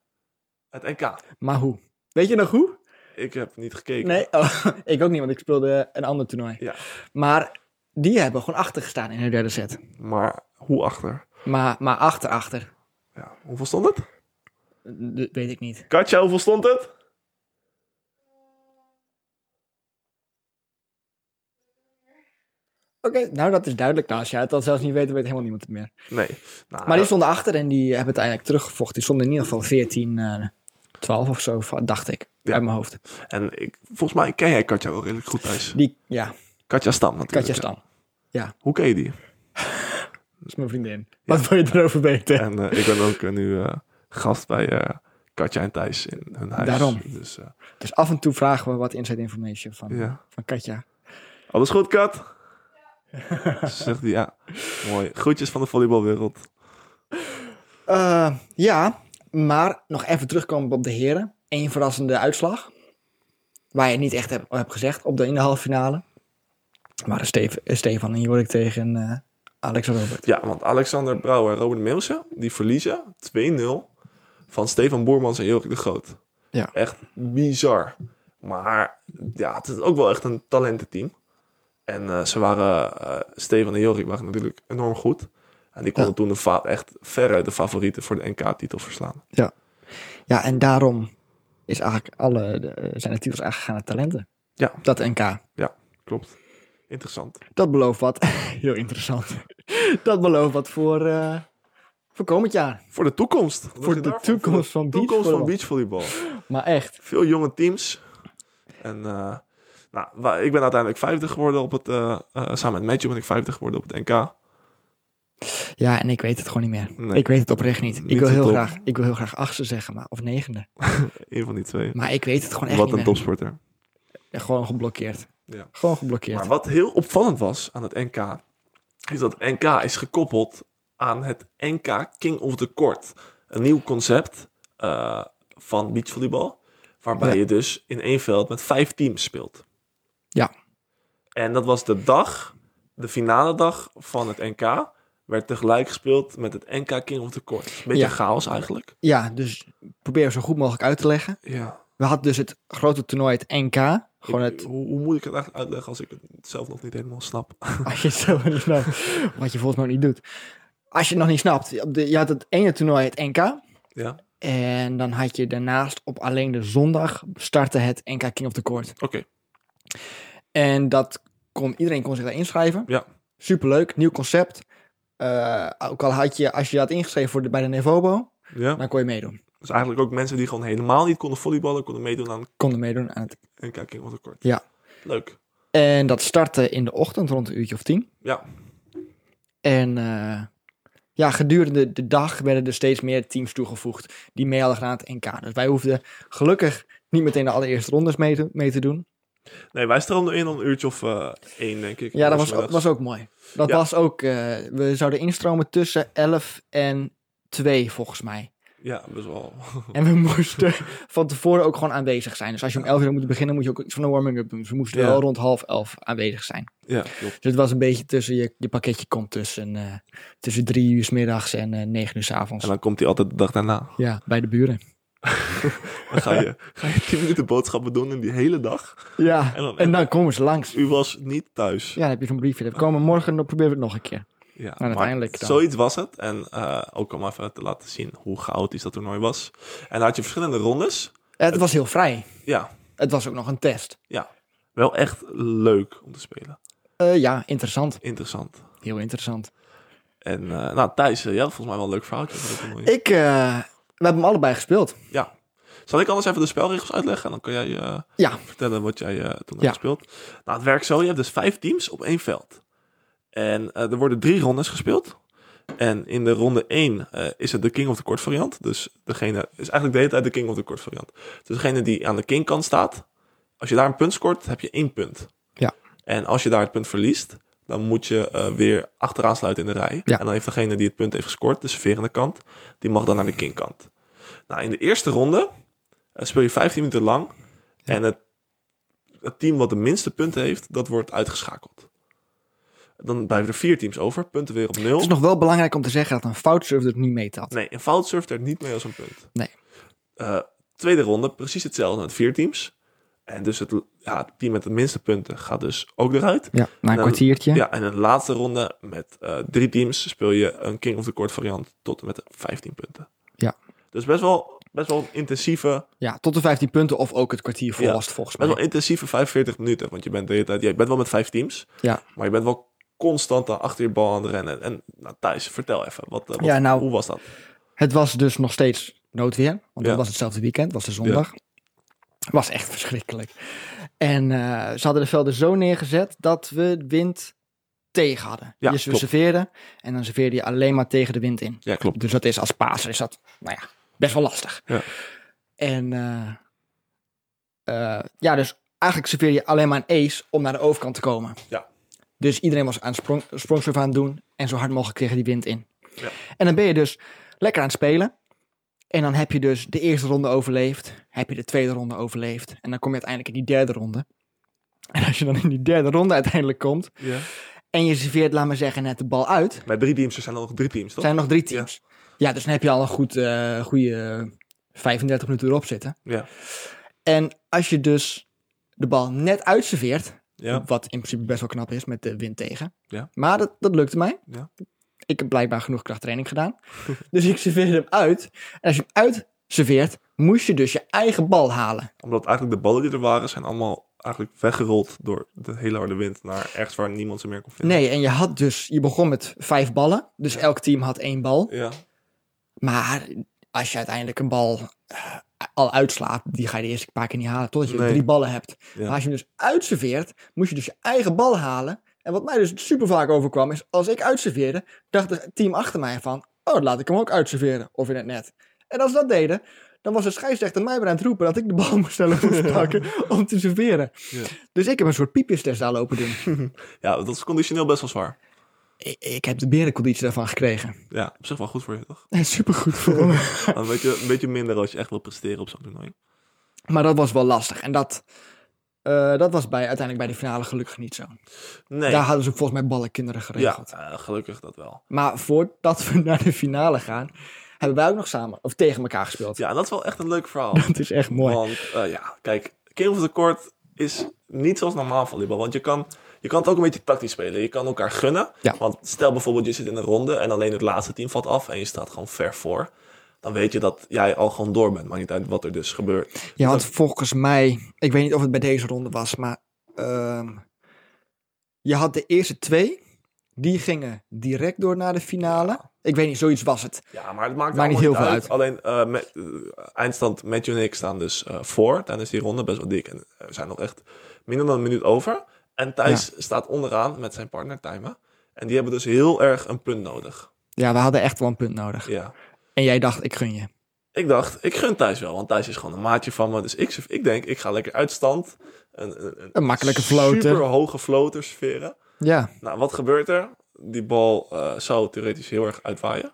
het NK. Maar hoe? Weet je nog hoe? Ik heb niet gekeken. Nee, oh, ik ook niet, want ik speelde een ander toernooi. Ja. Maar die hebben gewoon achter gestaan in hun derde set. Maar hoe achter? Maar, maar achter, achter. Ja, hoeveel stond het? Dat weet ik niet. Katja, hoeveel stond het? nou dat is duidelijk. Nou, als jij het dan zelfs niet weet, dan weet helemaal niemand het meer. Nee. Nou, Maar die stonden achter en die hebben het uiteindelijk teruggevochten. Die stonden in ieder geval 14, eh 12 of zo, va- dacht ik. Ja. Uit mijn hoofd. En ik, volgens mij ken jij Katja wel redelijk goed thuis. Die, ja, Katja Stam natuurlijk. Katja Stam. Hoe ken je die? Dat is mijn vriendin. Wat wil je erover weten? En eh, ik ben ook eh, nu eh, gast bij eh, Katja en Thijs in hun huis. Daarom. Dus eh, Dus af en toe vragen we wat inside information van, ja. van Katja. Alles goed, Kat? Ze Zegt hij ja. Mooi. Groetjes van de volleybalwereld. Eh, ja, maar nog even terugkomen op de heren. Eén verrassende uitslag. Waar je niet echt hebt hebt gezegd op de, in de halve finale. Maar Steve, Stefan en Jorik tegen eh, Alex Robert. Ja, want Alexander Brouwer en Robert Meelsen, die verliezen 2-0 van Stefan Boermans en Jorik de Groot. Ja. Echt bizar. Maar ja, het is ook wel echt een talententeam. En eh, ze waren, eh, Stefan en Jorik waren natuurlijk enorm goed. En die konden toen de fa- echt veruit de favorieten voor de NK-titel verslaan. Ja, en daarom is eigenlijk alle, de, eh, zijn de titels aangegaan naar talenten. Ja. Dat NK. Klopt. Interessant. Dat belooft wat. Heel interessant. Dat belooft wat voor, eh, voor komend jaar. Voor de toekomst. Wat dacht Voor je de daarvan? toekomst van Voor de toekomst van beachvolleybal. beachvolleybal. Maar echt. Veel jonge teams. En eh, nou, wa- ik ben uiteindelijk 50 geworden op het... eh, eh, samen met Matthew ben ik 50 geworden op het NK. Ja, en ik weet het gewoon niet meer. Nee. Ik weet het oprecht niet. Niet ik, wil zo heel top. graag, ik wil heel graag achtste zeggen, maar, of negende. Een van die twee. Maar ik weet het gewoon echt Wat niet een meer. topsporter. Ja, Gewoon geblokkeerd. Ja. Gewoon geblokkeerd. Maar wat heel opvallend was aan het NK, is dat NK is gekoppeld aan het NK King of the Court. Een nieuw concept eh, van beachvolleybal, waarbij Ja. je dus in één veld met vijf teams speelt. Ja. En dat was de dag, de finale dag van het NK, werd tegelijk gespeeld met het NK King of the Court. Beetje Ja. chaos eigenlijk. Ja, dus probeer zo goed mogelijk uit te leggen. Ja. We hadden dus het grote toernooi, het NK. Gewoon het... hoe, hoe moet ik het eigenlijk uitleggen als ik het zelf nog niet helemaal snap? Als je het zo niet snapt. Wat je volgens mij ook niet doet. Als je het nog niet snapt. op de- Je had het ene toernooi, het NK. ja. En dan had je daarnaast op alleen de zondag startte het NK King of the Court. Oké. En dat kon, iedereen kon zich daar inschrijven. Ja. Superleuk, nieuw concept. Eh, ook al had je, als je je had ingeschreven voor de, bij de Nevobo, Ja. dan kon je meedoen. Dus eigenlijk ook mensen die gewoon helemaal niet konden volleyballen, konden meedoen aan Konden meedoen aan het een kijking op de kort. Ja. Leuk. En dat startte in de ochtend rond een uurtje of tien. Ja. En eh, ja, gedurende de dag werden er steeds meer teams toegevoegd die mee hadden gedaan aan het NK. Dus wij hoefden gelukkig niet meteen de allereerste rondes mee te, mee te doen. Nee, wij stroomden in om een uurtje of eh, één, denk ik. Ja, dat was, ook- Middags. was ook mooi. Dat Ja. was ook, eh, we zouden instromen tussen 11 en 2 volgens mij. Ja, best wel. En we moesten van tevoren ook gewoon aanwezig zijn. Dus als je om 11 uur moet beginnen, moet je ook iets van een warming-up doen. Dus we moesten Ja. wel rond half 11 aanwezig zijn. ja, klopt. Dus het was een beetje tussen je, je pakketje komt tussen, eh, tussen drie uur 's middags en eh, negen uur 's avonds. En dan komt hij altijd de dag daarna. Ja, bij de buren. Dan ga je, ga je tien minuten boodschappen doen in die hele dag. Ja, En dan- en dan komen ze langs. U was niet thuis. Ja, dan heb je zo'n briefje. Dan komen we morgen, dan proberen we het nog een keer. Ja, En uiteindelijk dan. zoiets was het. En eh, ook om even te laten zien hoe chaotisch dat toernooi was. En dan had je verschillende rondes. Eh, Het was heel vrij. Ja, Het was ook nog een test. wel echt leuk om te spelen. Eh, ja, interessant. Interessant. Heel interessant. En eh, nou, Thijs, eh, jij had volgens mij wel een leuk verhaaltje. over dat toernooi. Ik, eh, we hebben hem allebei gespeeld. Ja. Zal ik anders even de spelregels uitleggen? En dan kan jij eh, Ja. vertellen wat jij eh, toen Ja. hebt gespeeld. Nou, het werkt zo. Je hebt dus vijf teams op één veld. En eh, er worden drie rondes gespeeld. En in de ronde één eh, is het de King of the Court variant. Dus degene is eigenlijk de hele tijd de King of the Court variant. Dus degene die aan de King kant staat. Als je daar een punt scoort, heb je één punt. Ja. En als je daar het punt verliest, dan moet je eh, weer achteraan sluiten in de rij. Ja. En dan heeft degene die het punt heeft gescoord, de serverende kant, die mag dan naar de King kant. Nou, in de eerste ronde eh, speel je 15 minuten lang. En het, het team wat de minste punten heeft, dat wordt uitgeschakeld. Dan blijven er vier teams over. Punten weer op nul. Het is nog wel belangrijk om te zeggen dat een foutsurf het niet meetelt. Nee, een fout surft er niet mee als een punt. Nee. Eh, tweede ronde, precies hetzelfde met vier teams. En dus het, ja, het team met de minste punten gaat dus ook eruit. Ja, na een Nou, kwartiertje. Ja, en in de laatste ronde met eh, drie teams speel je een King of the Court variant tot en met 15 punten. Ja. Dus best wel, best wel een intensieve Ja, tot de 15 punten of ook het kwartier vol Ja. was het volgens Best mij. wel intensieve 45 minuten, want je bent de hele tijd... Ja, je bent wel met vijf teams, Ja, maar je bent wel constant daar achter je bal aan het rennen. En nou, Thijs, vertel even, wat, eh, wat, Ja, nou- hoe was dat? Het was dus nog steeds noodweer. Want dat Ja. was hetzelfde weekend, was de zondag. was echt verschrikkelijk. En eh, ze hadden de velden zo neergezet dat we wind tegen hadden. Ja, dus we klopt. serveerden en dan serveerde je alleen maar tegen de wind in. Ja, klopt. Dus dat is als Pasen is dat, nou ja, best wel lastig. Ja. En eh, eh, ja, dus eigenlijk serveer je alleen maar een ace om naar de overkant te komen. Ja. Dus iedereen was aan sprong, sprongsurf aan het doen en zo hard mogelijk tegen die wind in. Ja. En dan ben je dus lekker aan het spelen. En dan heb je dus de eerste ronde overleefd, heb je de tweede ronde overleefd en dan kom je uiteindelijk in die derde ronde. En als je dan in die derde ronde uiteindelijk komt Ja. en je serveert, laat maar zeggen, net de bal uit, Met drie teams, er zijn er nog drie teams, toch? zijn er nog drie teams. Ja. dus dan heb je al een goed, eh, goede eh, 35 minuten erop zitten. Ja. En als je dus de bal net uitserveert, Ja, wat in principe best wel knap is met de wind tegen. Ja. Maar dat, dat lukte mij. Ja. Ik heb blijkbaar genoeg krachttraining gedaan. dus ik serveerde hem uit. En als je hem uitserveert, moest je dus je eigen bal halen. omdat eigenlijk de ballen die er waren, zijn allemaal eigenlijk weggerold door de hele harde wind naar ergens waar niemand ze meer kon vinden. Nee, en je had dus, je begon met vijf ballen. Dus elk team had één bal. Ja, Maar als je uiteindelijk een bal eh, al uitslaat, die ga je de eerste paar keer niet halen, totdat je Nee. drie ballen hebt. Ja. Maar als je hem dus uitserveert, moest je dus je eigen bal halen. En wat mij dus super vaak overkwam is, als ik uitserveerde, dacht het team achter mij van, oh, dan laat ik hem ook uitserveren, of in het net. En als ze dat deden, dan was de scheidsrechter mij maar aan het roepen dat ik de bal moest zelf moest pakken om te serveren. Ja. Dus ik heb een soort piepjestest daar lopen doen. ja dat is conditioneel best wel zwaar. ik, ik heb de berenconditie daarvan gekregen. Ja, op zich wel goed voor je, toch? Supergoed voor me. Maar Een beetje, een beetje minder als je echt wil presteren op zo'n toernooi. Maar dat was wel lastig. En dat, eh, dat was bij, uiteindelijk bij de finale gelukkig niet zo. Nee, Daar hadden ze volgens mij ballenkinderen ja, geregeld. eh, gelukkig dat wel. Maar voordat we naar de finale gaan, hebben wij ook nog samen, of tegen elkaar gespeeld. Ja, en dat is wel echt een leuk verhaal. Dat is echt mooi. Want eh, ja, kijk, King of the Court is niet zoals normaal volleybal. Want je kan, je kan het ook een beetje tactisch spelen. Je kan elkaar gunnen. Ja. Want stel bijvoorbeeld je zit in een ronde en alleen het laatste team valt af en je staat gewoon ver voor. Dan weet je dat jij al gewoon door bent, maar niet uit wat er dus gebeurt. Ja, want volgens mij, ik weet niet of het bij deze ronde was, maar ehm, je had de eerste twee, die gingen direct door naar de finale. Ik weet niet, zoiets was het. Ja, maar het maakt Maakt niet allemaal heel veel Alleen eh, met, eh, eindstand Matthew en ik staan dus eh, voor tijdens die ronde, best wel dik. En eh, we zijn nog echt minder dan een minuut over. En Thijs staat onderaan met zijn partner Tijma. En die hebben dus heel erg een punt nodig. Ja, we hadden echt wel een punt nodig. Ja. En jij dacht, ik gun je. Ik dacht, ik gun Thijs wel, want Thijs is gewoon een maatje van me. Dus ik, ik denk, ik ga lekker uitstand. Een, een, Een makkelijke floater. Super hoge floater serveren. Ja, Nou, wat gebeurt er? Die bal eh, zou theoretisch heel erg uitwaaien.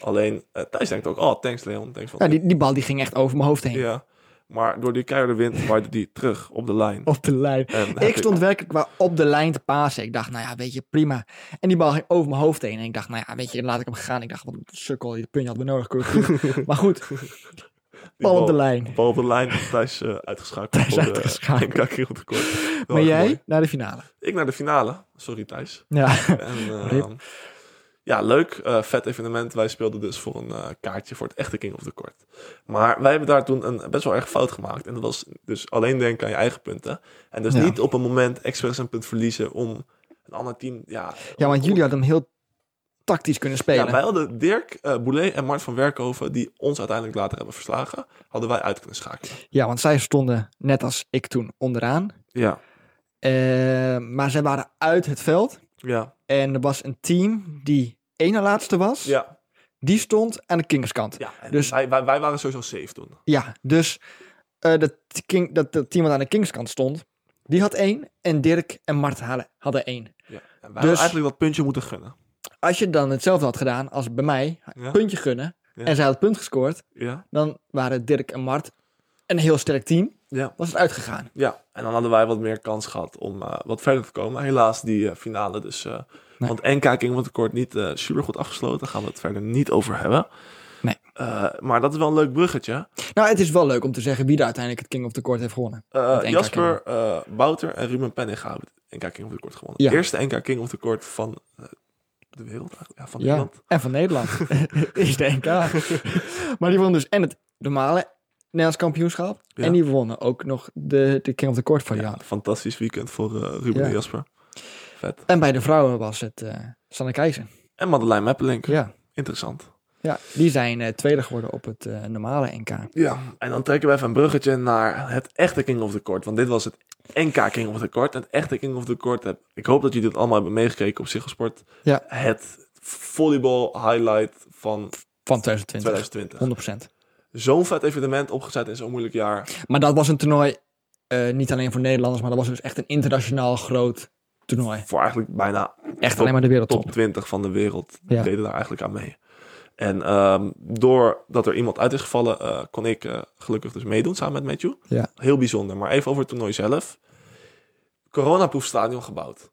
Alleen eh, Thijs denkt ook, oh, thanks Leon, thanks van ja die, die bal die ging echt over mijn hoofd heen. ja. Maar door die keiharde wind waaide die terug op de lijn. Op de lijn. En heb Oh, Ik stond werkelijk maar op de lijn te pasen. Ik dacht, nou ja, weet je, prima. En die bal ging over mijn hoofd heen. En ik dacht, nou ja, weet je, laat ik hem gaan. Ik dacht, wat een sukkel, die puntje had me nodig. kon ik terug. maar goed, die bal op de lijn. Bal op de lijn, Thijs eh, uitgeschakeld. Thijs voor de- uitgeschakeld. in Kakkerel tekort. Wel Maar erg jij mooi. naar de finale. Ik naar de finale. Sorry Thijs. Ja, En, eh, Rip. ja, leuk. eh, vet evenement. Wij speelden dus voor een eh, kaartje voor het echte King of the Court. Maar wij hebben daar toen een best wel erg fout gemaakt. En dat was dus alleen denken aan je eigen punten. En dus Ja. niet op een moment expres een punt verliezen om een ander team... Ja, ja want om- jullie hadden hem heel tactisch kunnen spelen. Ja, wij hadden Dirk, eh Boulet en Mart van Werkhoven... die ons uiteindelijk later hebben verslagen... hadden wij uit kunnen schakelen. Ja, want zij stonden, net als ik toen, onderaan. Ja. Eh, maar zij waren uit het veld. Ja. En er was een team die ene laatste was. Ja. Die stond aan de kingskant. ja. En Dus- wij, wij, wij waren sowieso safe toen. Ja, dus eh, dat, king, dat, dat team wat aan de Kingskant stond, die had één. En Dirk en Mart halen- hadden één. Ja. En wij Dus- hadden eigenlijk dat puntje moeten gunnen. Als je dan hetzelfde had gedaan als bij mij, Ja. puntje gunnen, Ja. en zij had het punt gescoord, Ja. dan waren Dirk en Mart een heel sterk team. Ja. Was het uitgegaan. Ja, en dan hadden wij wat meer kans gehad om eh, wat verder te komen. Helaas die eh, finale dus. eh, Nee. Want NK King wordt tekort niet eh super goed afgesloten. Daar gaan we het verder niet over hebben. Nee. Eh, maar dat is wel een leuk bruggetje. Nou, het is wel leuk om te zeggen wie er uiteindelijk het King of the Court heeft gewonnen. Eh, Want NK Jasper eh, Bouter en Ruben Penning hebben het NK King of the Court gewonnen. Ja. De eerste NK King of the Court van eh, de wereld eigenlijk. Ja, van Ja, Nederland. en van Nederland. is de NK. maar die won dus en het normale Nederlands kampioenschap. Ja. En die wonnen ook nog de, de King of the Court Ja, variant. fantastisch weekend voor eh, Ruben Oh, Ja. en Jasper. vet. En bij de vrouwen was het eh Sanne Keizer. En Madeleine Meppelink. Ja. Interessant. ja, die zijn eh, tweede geworden op het eh, normale NK. Ja, en dan trekken we even een bruggetje naar het echte King of the Court. Want dit was het NK King of the Court. Het echte King of the Court. heb- Ik hoop dat jullie dit allemaal hebben meegekeken op Sigelsport. Ja. Het volleybal highlight van Van 2020. 2020. 100%. Zo'n vet evenement opgezet in zo'n moeilijk jaar. Maar dat was een toernooi eh, niet alleen voor Nederlanders, maar dat was dus echt een internationaal groot toernooi. Voor eigenlijk bijna Echt alleen maar de top wereldtop. 20 van de wereld Ja. deden daar eigenlijk aan mee. En ehm, doordat er iemand uit is gevallen, eh, kon ik eh, gelukkig dus meedoen samen met Matthew. Ja. Heel bijzonder. Maar even over het toernooi zelf. Coronaproefstadion gebouwd.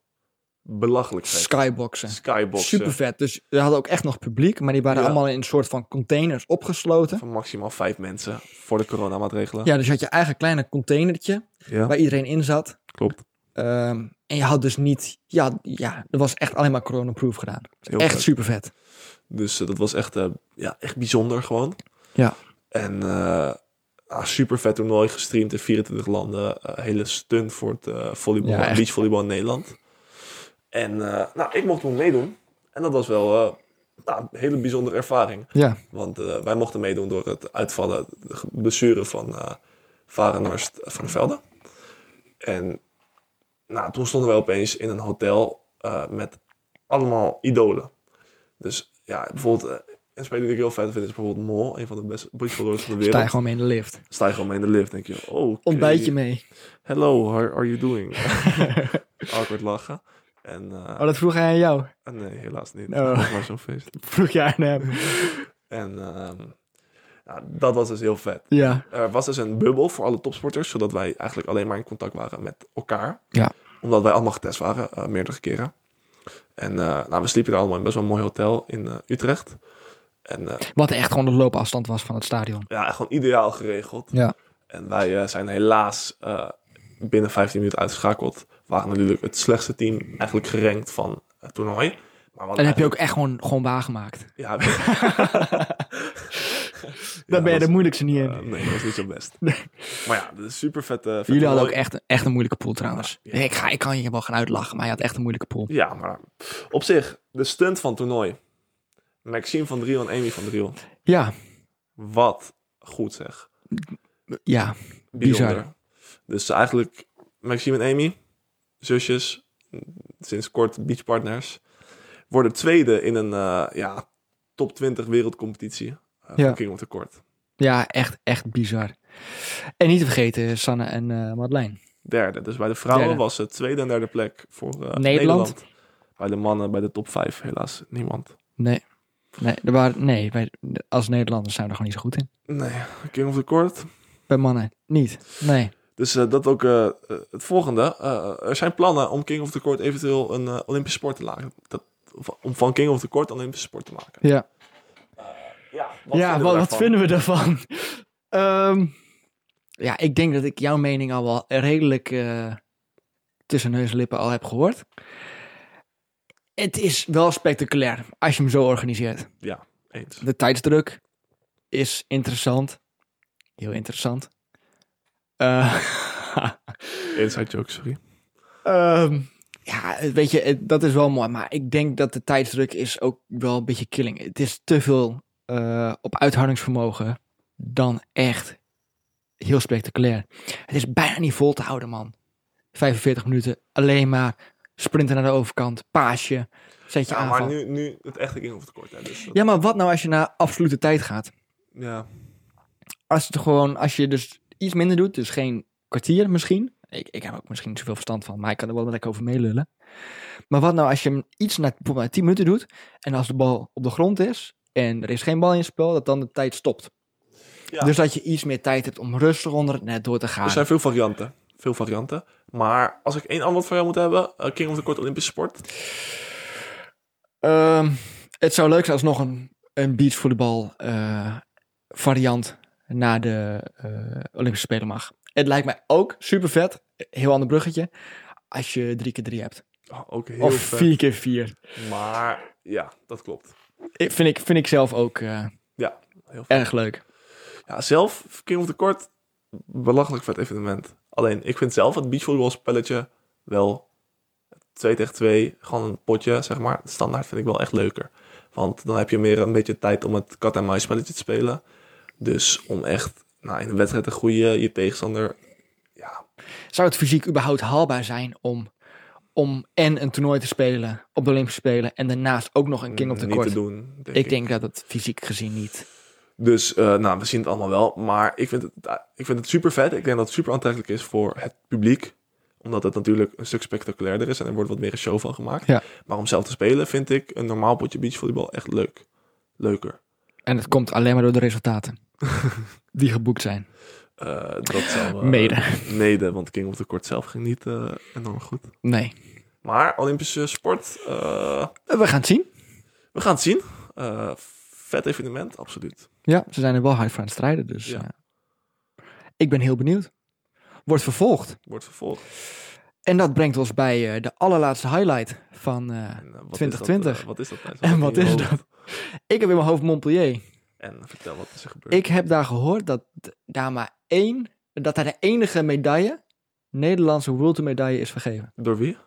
Belachelijk vet. Skyboxen. Skyboxen Super vet. Dus we hadden ook echt nog publiek, maar die waren Ja. allemaal in een soort van containers opgesloten. van maximaal vijf mensen voor de coronamaatregelen. Ja, dus je had je eigen kleine containertje Ja, waar iedereen in zat. klopt. Ehm, en je had dus niet, ja, ja, er was echt alleen maar coronaproof gedaan. Heel echt vet. super vet. Dus eh, dat was echt, eh, ja, echt bijzonder gewoon. Ja. En eh super vet toernooi, gestreamd in 24 landen. Eh, hele stunt voor het eh volleybal, Ja, echt. beachvolleybal in Nederland. En eh, nou, ik mocht toen meedoen. En dat was wel eh, nou, een hele bijzondere ervaring. Ja, Want eh, wij mochten meedoen door het uitvallen, de ge- blessure van eh Varenhorst van der Velde. En nou, toen stonden wij opeens in een hotel eh, met allemaal idolen. Dus ja, bijvoorbeeld, eh, een speler die ik heel vet vind is bijvoorbeeld Mol, een van de beste beachvolleyers van de wereld. sta je gewoon mee in de lift. Sta je gewoon mee in de lift, denk je, oh, oké. Ontbijtje mee. Hello, how are you doing? Awkward lachen. En eh, Oh, dat vroeg hij aan jou. ah, nee, helaas niet. Oh. Dat was zo'n feest. Vroeg jij aan hem. En ehm, nou, dat was dus heel vet. Ja. Er was dus een bubbel voor alle topsporters, zodat wij eigenlijk alleen maar in contact waren met elkaar. Ja. Omdat wij allemaal getest waren, eh, meerdere keren. En eh, nou, we sliepen daar allemaal in best wel een mooi hotel in eh, Utrecht. En eh, Wat echt gewoon de loopafstand was van het stadion. ja, gewoon ideaal geregeld. Ja. En wij eh, zijn helaas eh, binnen 15 minuten uitgeschakeld. We waren natuurlijk het slechtste team eigenlijk gerankt van het toernooi. Maar we hadden En heb je eigenlijk- ook echt gewoon, gewoon waargemaakt. Ja, Daar ben je de moeilijkste niet in. Eh, nee, dat is niet zo best. Maar ja, dat is super vette. vette Jullie hadden toernooi. ook echt, echt een moeilijke pool trouwens. Ja. Nee, ik, ga, ik kan je wel gaan uitlachen, maar je had echt een moeilijke pool. Ja, maar op zich, de stunt van het toernooi. Maxime van Driel en Amy van Driel. Ja, Wat goed zeg. ja. Bijzonder. Bizar. Dus eigenlijk, Maxime en Amy, zusjes, sinds kort beachpartners, worden tweede in een eh, ja, top 20 wereldcompetitie eh, van Ja. King of the Court. Ja, echt, echt bizar. En niet te vergeten Sanne en eh, Madeleine. Derde. Dus bij de vrouwen Derde. was het tweede en derde plek voor eh, Nederland. Bij de mannen, bij de top 5, helaas niemand. Nee. Nee, er waren, nee wij, als Nederlanders zijn we er gewoon niet zo goed in. Nee, King of the Court. Bij mannen niet. Nee. Dus eh, dat ook eh, eh, het volgende. Eh, er zijn plannen om King of the Court eventueel een eh, Olympische sport te maken. Dat, of om van King of the Court een Olympische sport te maken. Ja, Ja, ja wat, wat vinden we daarvan? Ehm, ja, ik denk dat ik jouw mening al wel redelijk eh, tussen neus en lippen al heb gehoord. Het is wel spectaculair als je hem zo organiseert. Eens. De tijdsdruk is interessant. Heel interessant. Eh Inside joke, sorry. Ehm, ja, weet je, het- dat is wel mooi. Maar ik denk dat de tijdsdruk is ook wel een beetje killing. Het is te veel eh, op uithoudingsvermogen dan echt heel spectaculair. Het is bijna niet vol te houden, man. 45 minuten, alleen maar sprinten naar de overkant, paasje, zet je Ja, aan. maar nu, nu het echte King of the Court. Hè, dus dat- Ja, maar wat nou als je naar absolute tijd gaat? ja. als het gewoon, als je dus iets minder doet, dus geen kwartier misschien. Ik, ik heb ook misschien niet zoveel verstand van, maar ik kan er wel lekker over meelullen. Maar wat nou als je hem iets na, bijvoorbeeld na 10 minuten doet en als de bal op de grond is en er is geen bal in het spel, dat dan de tijd stopt. Ja. Dus Dus dat je iets meer tijd hebt om rustig onder het net door te gaan. Er zijn veel varianten. Veel varianten. Maar als ik één antwoord voor jou moet hebben, eh, King of the Court Olympische sport. Ehm, het zou leuk zijn als nog een, een beachvolleybal eh, variant naar de eh, Olympische Spelen mag. Het lijkt mij ook super vet, heel ander bruggetje, als je 3 keer 3 hebt. Oh, ook heel Of vet. vier keer vier. Maar ja, dat klopt. Ik, vind, ik, vind ik zelf ook eh, Heel vet. erg leuk. Ja, zelf, King of the Court, belachelijk vet evenement. Alleen, ik vind zelf het beachvolleybalspelletje wel twee tegen twee, gewoon een potje, zeg maar. Standaard vind ik wel echt leuker. Want dan heb je meer een beetje tijd om het kat-en-muis spelletje te spelen. Dus om echt nou, in een wedstrijd te groeien, je tegenstander... Ja, Zou het fysiek überhaupt haalbaar zijn om, om en een toernooi te spelen op de Olympische Spelen en daarnaast ook nog een king op de niet te court? doen. Denk Ik denk dat het fysiek gezien niet. Dus eh, nou, we zien het allemaal wel. Maar ik vind het, eh, ik vind het super vet. Ik denk dat het super aantrekkelijk is voor het publiek. Omdat het natuurlijk een stuk spectaculairder is en er wordt wat meer een show van gemaakt. Ja. Maar om zelf te spelen vind ik een normaal potje beachvolleybal echt leuk. Leuker. En het komt alleen maar door de resultaten die geboekt zijn. Eh, dat zou, eh, Mede. Mede, want King of the Court zelf ging niet eh, enorm goed. Nee. Maar Olympische sport, eh, We gaan het zien. we gaan het zien. Eh, vet evenement, absoluut. Ja, ze zijn er wel hard voor aan het strijden. Dus Ja. eh, ik ben heel benieuwd. Wordt vervolgd. Wordt vervolgd. En dat brengt ons bij eh, de allerlaatste highlight van... eh, En, eh, wat Is dat, 2020. eh, wat is dat? Thijs? En heb wat je in je is hoofd? ik heb in mijn hoofd Montpellier. En vertel wat is er gebeurd. Ik heb daar gehoord dat daar maar één... Dat daar de enige medaille, Nederlandse World Tour medaille, is vergeven. Door wie?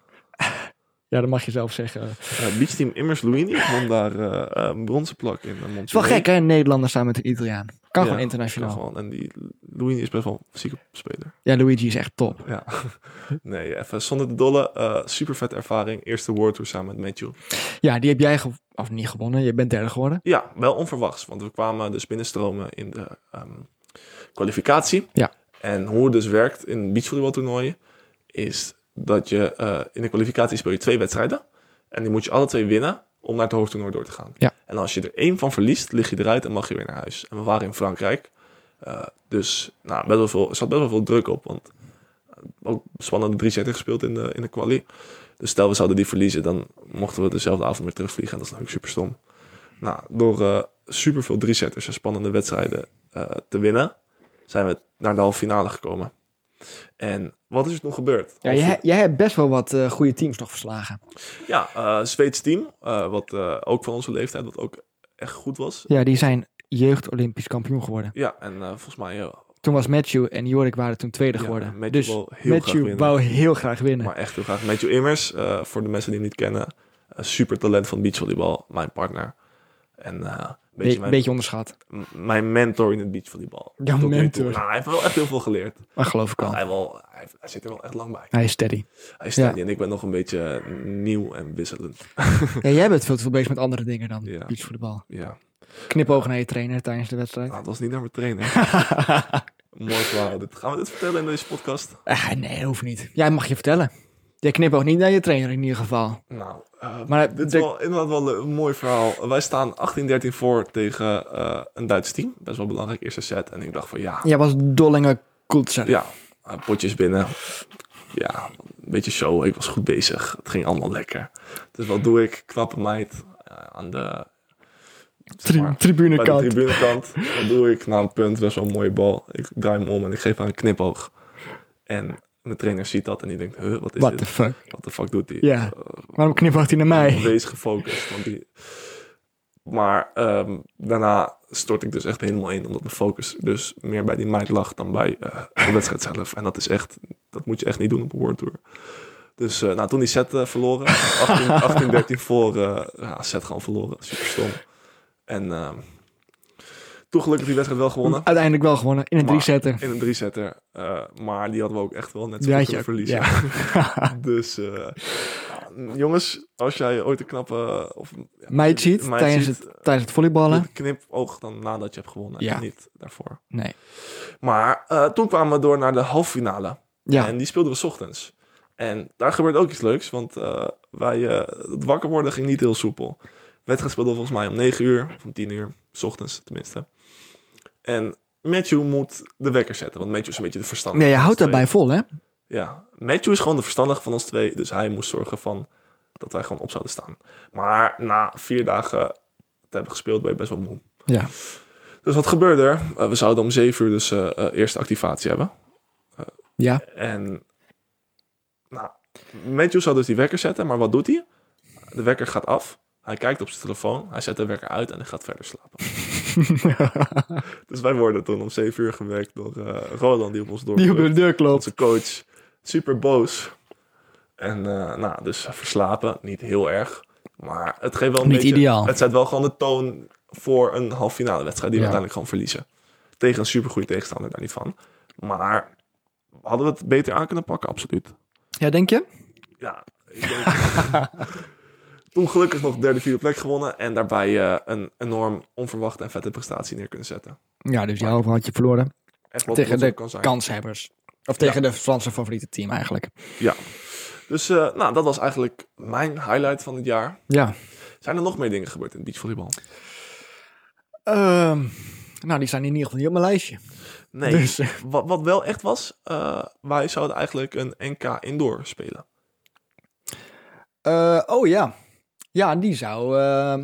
Ja, dat mag je zelf zeggen. Het Eh, Beachteam Immers Luini won daar eh, een bronzen plak in uh, is wel gek, hè? Nederlander samen met een Italiaan. Kan gewoon internationaal. en die Luini is best wel een zieke speler. Ja, Luigi is echt top. Ja. nee, even zonder de dolle. eh super vet ervaring. Eerste World Tour samen met Matthew. Ja, die heb jij... ge- Of niet gewonnen, je bent derde geworden. Ja, wel onverwachts. Want we kwamen dus binnenstromen in de ehm, kwalificatie. Ja. En hoe het dus werkt in beachvolleybaltoernooien... is dat je eh, in de kwalificatie speel je twee wedstrijden. En die moet je alle twee winnen om naar het hoofdtoernooi door te gaan. Ja. En als je er één van verliest, lig je eruit en mag je weer naar huis. En we waren in Frankrijk. Eh, dus nou, best wel veel, er zat best wel veel druk op. Want eh, ook spannende drie zetten gespeeld in de, in de quali. Dus stel we zouden die verliezen, dan mochten we dezelfde avond weer terugvliegen. En dat is natuurlijk super stom. Nou, door eh superveel drie-setters en spannende wedstrijden eh, te winnen, zijn we naar de halve finale gekomen. En wat is er toen gebeurd? Ja, jij, jij hebt best wel wat eh, goede teams nog verslagen. Ja, eh, Zweeds team, eh, wat eh, ook van onze leeftijd, wat ook echt goed was. Ja, die zijn jeugd-Olympisch kampioen geworden. Ja, en eh, volgens mij eh, Toen was Matthew en Jorik waren toen tweede ja, geworden. Matthew dus wou heel graag Matthew winnen. wou heel graag winnen. Maar echt heel graag. Matthew Immers, eh, voor de mensen die hem niet kennen, een super talent van beachvolleybal, mijn partner. En eh, een beetje Be- mijn, beetje onderschat. m- mijn mentor in het beachvolleybal. Jouw Tot nu toe. mentor. Nou, hij heeft wel echt heel veel geleerd. Maar geloof ik al. Hij, wel, hij, hij zit er wel echt lang bij. Hij is steady. Hij staat Ja. niet en ik ben nog een beetje eh, nieuw en wisselend. Ja, jij bent veel te veel bezig met andere dingen dan Ja. beachvoetbal. Ja, Knipoog naar je trainer tijdens de wedstrijd. nou, dat was niet naar mijn trainer. Mooi verhaal. Dit- Gaan we dit vertellen in deze podcast? Ah, nee, hoeft niet. Jij mag je vertellen. Jij knipoogt niet naar je trainer in ieder geval. Nou, eh, Maar dit is de- wel inderdaad wel een mooi verhaal. Wij staan 18-13 voor tegen eh, een Duits team. Best wel belangrijk eerste set. En ik dacht van ja, Jij was dollinge koetser. ja eh, potjes binnen. Ja, een beetje show. Ik was goed bezig. Het ging allemaal lekker. Dus wat doe ik? Knappe meid eh, aan de... zeg Tri- maar, tribunekant. Bij de tribunekant. Wat doe ik? Nou, een punt. Best wel een mooie bal. Ik draai hem om en ik geef haar een knipoog. En mijn trainer ziet dat en die denkt, huh, wat is What the dit? fuck? Wat de fuck doet hij? Ja. Waarom knipoogt hij naar Wees mij? gefocust. Want die... Maar ehm, daarna stort ik dus echt helemaal in. Omdat mijn focus dus meer bij die meid lag dan bij eh, de wedstrijd zelf. En dat is echt, dat moet je echt niet doen op een World Tour. Dus eh, nou, toen die set eh, verloren. 18 18-13 voor. eh ja, set gewoon verloren. Super stom. En ehm, toen gelukkig die wedstrijd wel gewonnen. Uiteindelijk wel gewonnen. In een Maar- drie setter. In een driezetter. eh maar die hadden we ook echt wel net zo Die goed had kunnen je ook, verliezen. dus eh, jongens, als jij ooit een knappe... Of, ja, Meid ziet meid tijdens, ziet, Het, tijdens het volleyballen. doe knip oog dan nadat je hebt gewonnen. Ja. En niet daarvoor. Nee. Maar eh, toen kwamen we door naar de halve finale. Ja. En die speelden we 's ochtends. En daar gebeurde ook iets leuks, want eh, wij, eh, het wakker worden ging niet heel soepel. De wedstrijd speelde volgens mij om 9 uur, of om 10 uur, 's ochtends tenminste. En Matthew moet de wekker zetten, want Matthew is een beetje de verstandige. Nee, je van houdt ons daarbij vol, hè? twee. Ja, Matthew is gewoon de verstandige van ons twee, dus hij moest zorgen van dat wij gewoon op zouden staan. Maar na vier dagen te hebben gespeeld ben je best wel moe. Ja. Dus wat gebeurde er? Eh, we zouden om 7 uur dus eh, eh, eerste activatie hebben. Ja. En nou, Matthew zou dus die wekker zetten, maar wat doet hij? De wekker gaat af. Hij kijkt op zijn telefoon, hij zet de wekker uit en hij gaat verder slapen. dus wij worden toen om 7 uur gewekt door eh Roland, die op ons door Die op de deur klopt. onze coach. Super boos. En eh, nou, dus verslapen, niet heel erg. Maar het geeft wel een Niet beetje... ideaal. Het zet wel gewoon de toon voor een halve finale wedstrijd die we Ja. uiteindelijk gewoon verliezen. Tegen een supergoeie tegenstander, daar niet van. Maar hadden we het beter aan kunnen pakken? Absoluut. Ja, denk je? Ja, ik denk- Toen gelukkig nog derde, vierde plek gewonnen. En daarbij eh, een enorm onverwachte en vette prestatie neer kunnen zetten. Ja, dus jouw had je verloren. Echt wat Tegen trots de op kan zijn. Kanshebbers. Of tegen de Franse favoriete team eigenlijk. Dus eh, nou, dat was eigenlijk mijn highlight van het jaar. Ja. Zijn er nog meer dingen gebeurd in beachvolleybal? Ehm, nou, die staan in ieder geval niet op mijn lijstje. Nee. Dus, eh, Wat, wat wel echt was, eh, wij zouden eigenlijk een NK indoor spelen. eh, oh ja. Ja, die zou, ehm,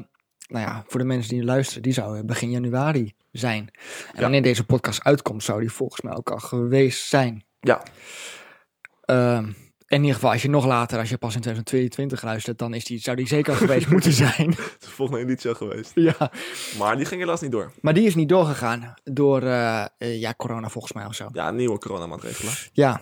nou ja, voor de mensen die luisteren, die zou eh, begin januari zijn. En Ja. wanneer deze podcast uitkomt, zou die volgens mij ook al geweest zijn. Ja. Ehm, in ieder geval, als je nog later, als je pas in 2022 luistert, dan is die, zou die zeker al geweest moeten zijn. Het is de volgende editie al geweest. ja. Maar die ging helaas niet door. Maar die is niet doorgegaan door, eh, eh, ja, corona volgens mij of zo. Ja, nieuwe coronamaatregelen. Ja.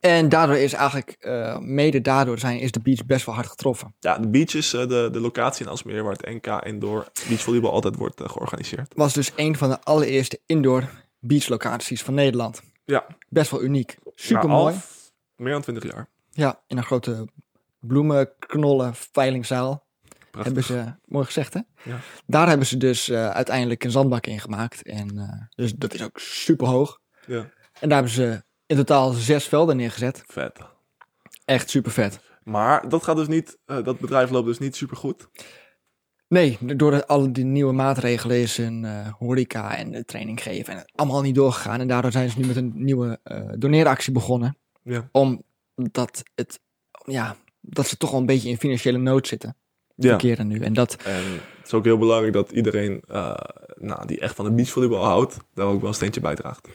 En daardoor is eigenlijk, eh, mede daardoor zijn, is de beach best wel hard getroffen. Ja, de beach is eh, de, de locatie in Alsmeer waar het NK indoor beachvolleybal altijd wordt eh, georganiseerd. was dus een van de allereerste indoor beachlocaties van Nederland. Ja. Best wel uniek. Super Na al mooi. f- meer dan 20 jaar. Ja, in een grote bloemenknollen veilingzaal. Prachtig. Hebben ze, mooi gezegd hè? Ja. Daar hebben ze dus eh, uiteindelijk een zandbak in gemaakt. En, eh, dus dat is ook super hoog. Ja. En daar hebben ze in totaal zes velden neergezet. Vet. Echt super vet. Maar dat gaat dus niet, eh, dat bedrijf loopt dus niet super goed. Nee, door de- alle die nieuwe maatregelen is hun eh, horeca en de training geven en het allemaal niet doorgegaan. En daardoor zijn ze nu met een nieuwe eh doneeractie begonnen. Ja. Omdat het, ja, dat ze toch wel een beetje in financiële nood zitten. Ja. Verkeren nu. En dat, En het is ook heel belangrijk dat iedereen eh, nou, die echt van de beachvolleybal houdt, daar ook wel een steentje bijdraagt.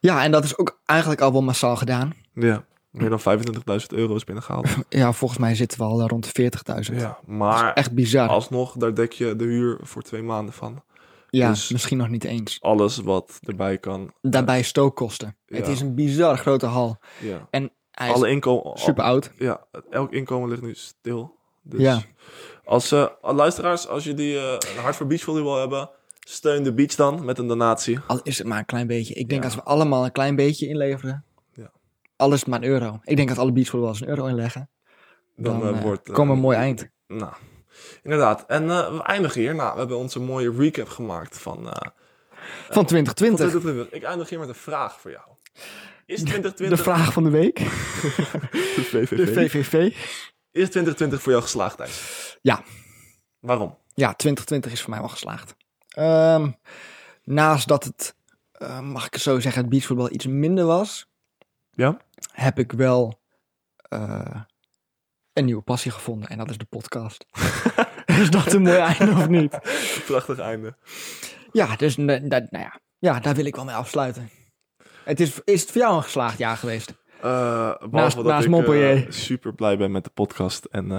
ja, en dat is ook eigenlijk al wel massaal gedaan. Ja. Meer dan 25.000 euro is binnengehaald. Ja, volgens mij zitten we al eh, rond de 40.000. ja, Dat is maar echt bizar. alsnog, daar dek je de huur voor twee maanden van. ja, dus- misschien nog niet eens. Alles wat erbij kan. Daarbij stookkosten. Ja. Het is een bizar grote hal. Ja. Hij is Alle inkomen. super oud. Ja, elk inkomen ligt nu stil. Dus Ja. als eh, luisteraars, als jullie eh een hart voor beachvolleybal hebben, steun de beach dan met een donatie. Al is het maar een klein beetje. Ik denk Ja. als we allemaal een klein beetje inleveren. Ja. Alles maar een euro. Ik denk dat alle beachvolleyballs een euro inleggen. Dan, Dan, eh, eh, wordt. eh, Kom een mooi eind. Nou, inderdaad. En eh, we eindigen hier. Nou, we hebben onze mooie recap gemaakt van. eh, van Van 2020. 2020. Ik eindig hier met een vraag voor jou. Is De 2020 vraag van de week. de VVV. De VVV. Is 2020 voor jou geslaagd, Thijs? Ja. Waarom? Ja, 2020 is voor mij wel geslaagd. Ehm, naast dat het, eh, mag ik het zo zeggen, het beachvoetbal iets minder was. Ja. Heb ik wel eh, een nieuwe passie gevonden. En dat is de podcast. is dat een mooi einde of niet? Prachtig einde. Ja, dus n- dat- nou ja. ja, daar wil ik wel mee afsluiten. Het is, is het voor jou een geslaagd jaar geweest? Eh behalve Naast- dat naast ik eh, Montpellier. super blij ben met de podcast. En eh,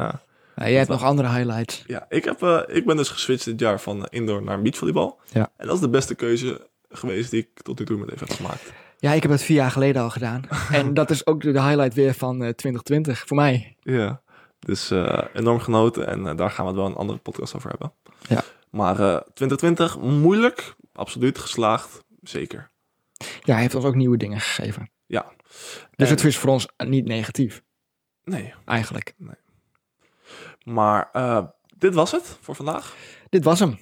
Nou, jij hebt nog andere highlights. ja, ik, heb, eh, ik ben dus geswitcht dit jaar van eh, indoor naar beachvolleybal. Ja. En dat is de beste keuze geweest die ik tot nu toe met even heb gemaakt. Ja, ik heb het vier jaar geleden al gedaan. en dat is ook de highlight weer van eh, 2020 voor mij. Ja, dus eh, enorm genoten en eh, daar gaan we het wel een andere podcast over hebben. Ja. Maar eh, 2020, moeilijk, absoluut geslaagd, zeker. Ja, hij heeft ons ook nieuwe dingen gegeven. Ja. Dus En- het is voor ons niet negatief, Nee, eigenlijk. maar eh, dit was het voor vandaag. Dit was hem.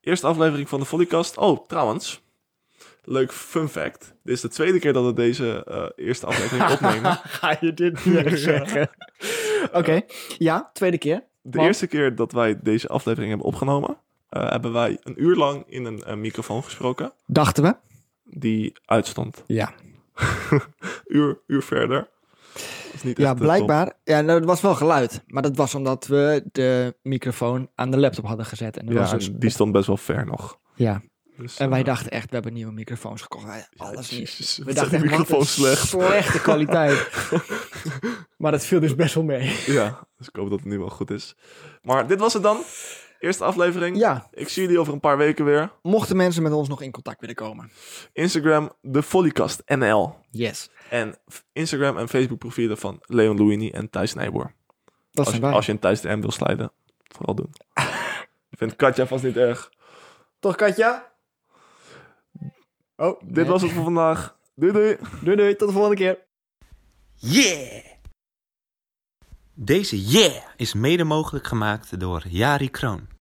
Eerste aflevering van de Volleycast. Oh, trouwens, leuk fun fact. Dit is de tweede keer dat we deze eh, eerste aflevering opnemen. Ga je dit niet echt zeggen? Oké, ja, tweede keer. De Want? eerste keer dat wij deze aflevering hebben opgenomen, eh, hebben wij een uur lang in een eh, microfoon gesproken Dachten we. die uitstond. Ja, Uur, uur verder. Dat is niet ja echt, eh, top. blijkbaar. Ja, nou, het was wel geluid. Maar dat was omdat we de microfoon aan de laptop hadden gezet. En, er was Ja, dus- en die stond best wel ver nog. ja. Dus, en wij eh, dachten echt, we hebben nieuwe microfoons gekocht. Wij- ja, Alles nieuw. jezus, We wat zijn dachten die echt, wat een microfoons slecht. slechte kwaliteit. maar dat viel dus best wel mee. Ja, dus ik hoop dat het nu wel goed is. Maar dit was het dan. Eerste aflevering. Ja, Ik zie jullie over een paar weken weer. mochten mensen met ons nog in contact willen komen. Instagram, de Follycast NL. Yes. En f- Instagram en Facebook profielen van Leon Louini en Thijs Nijboer. Dat Als, zijn je- wij. als je een Thijs de M wil slijden, vooral doen. Ik vind Katja vast niet erg. Toch, Katja? Oh, Dit was het voor vandaag. Doei doei. Doei, doei. Tot de volgende keer. Yeah! Deze yeah is mede mogelijk gemaakt door Jari Kroon.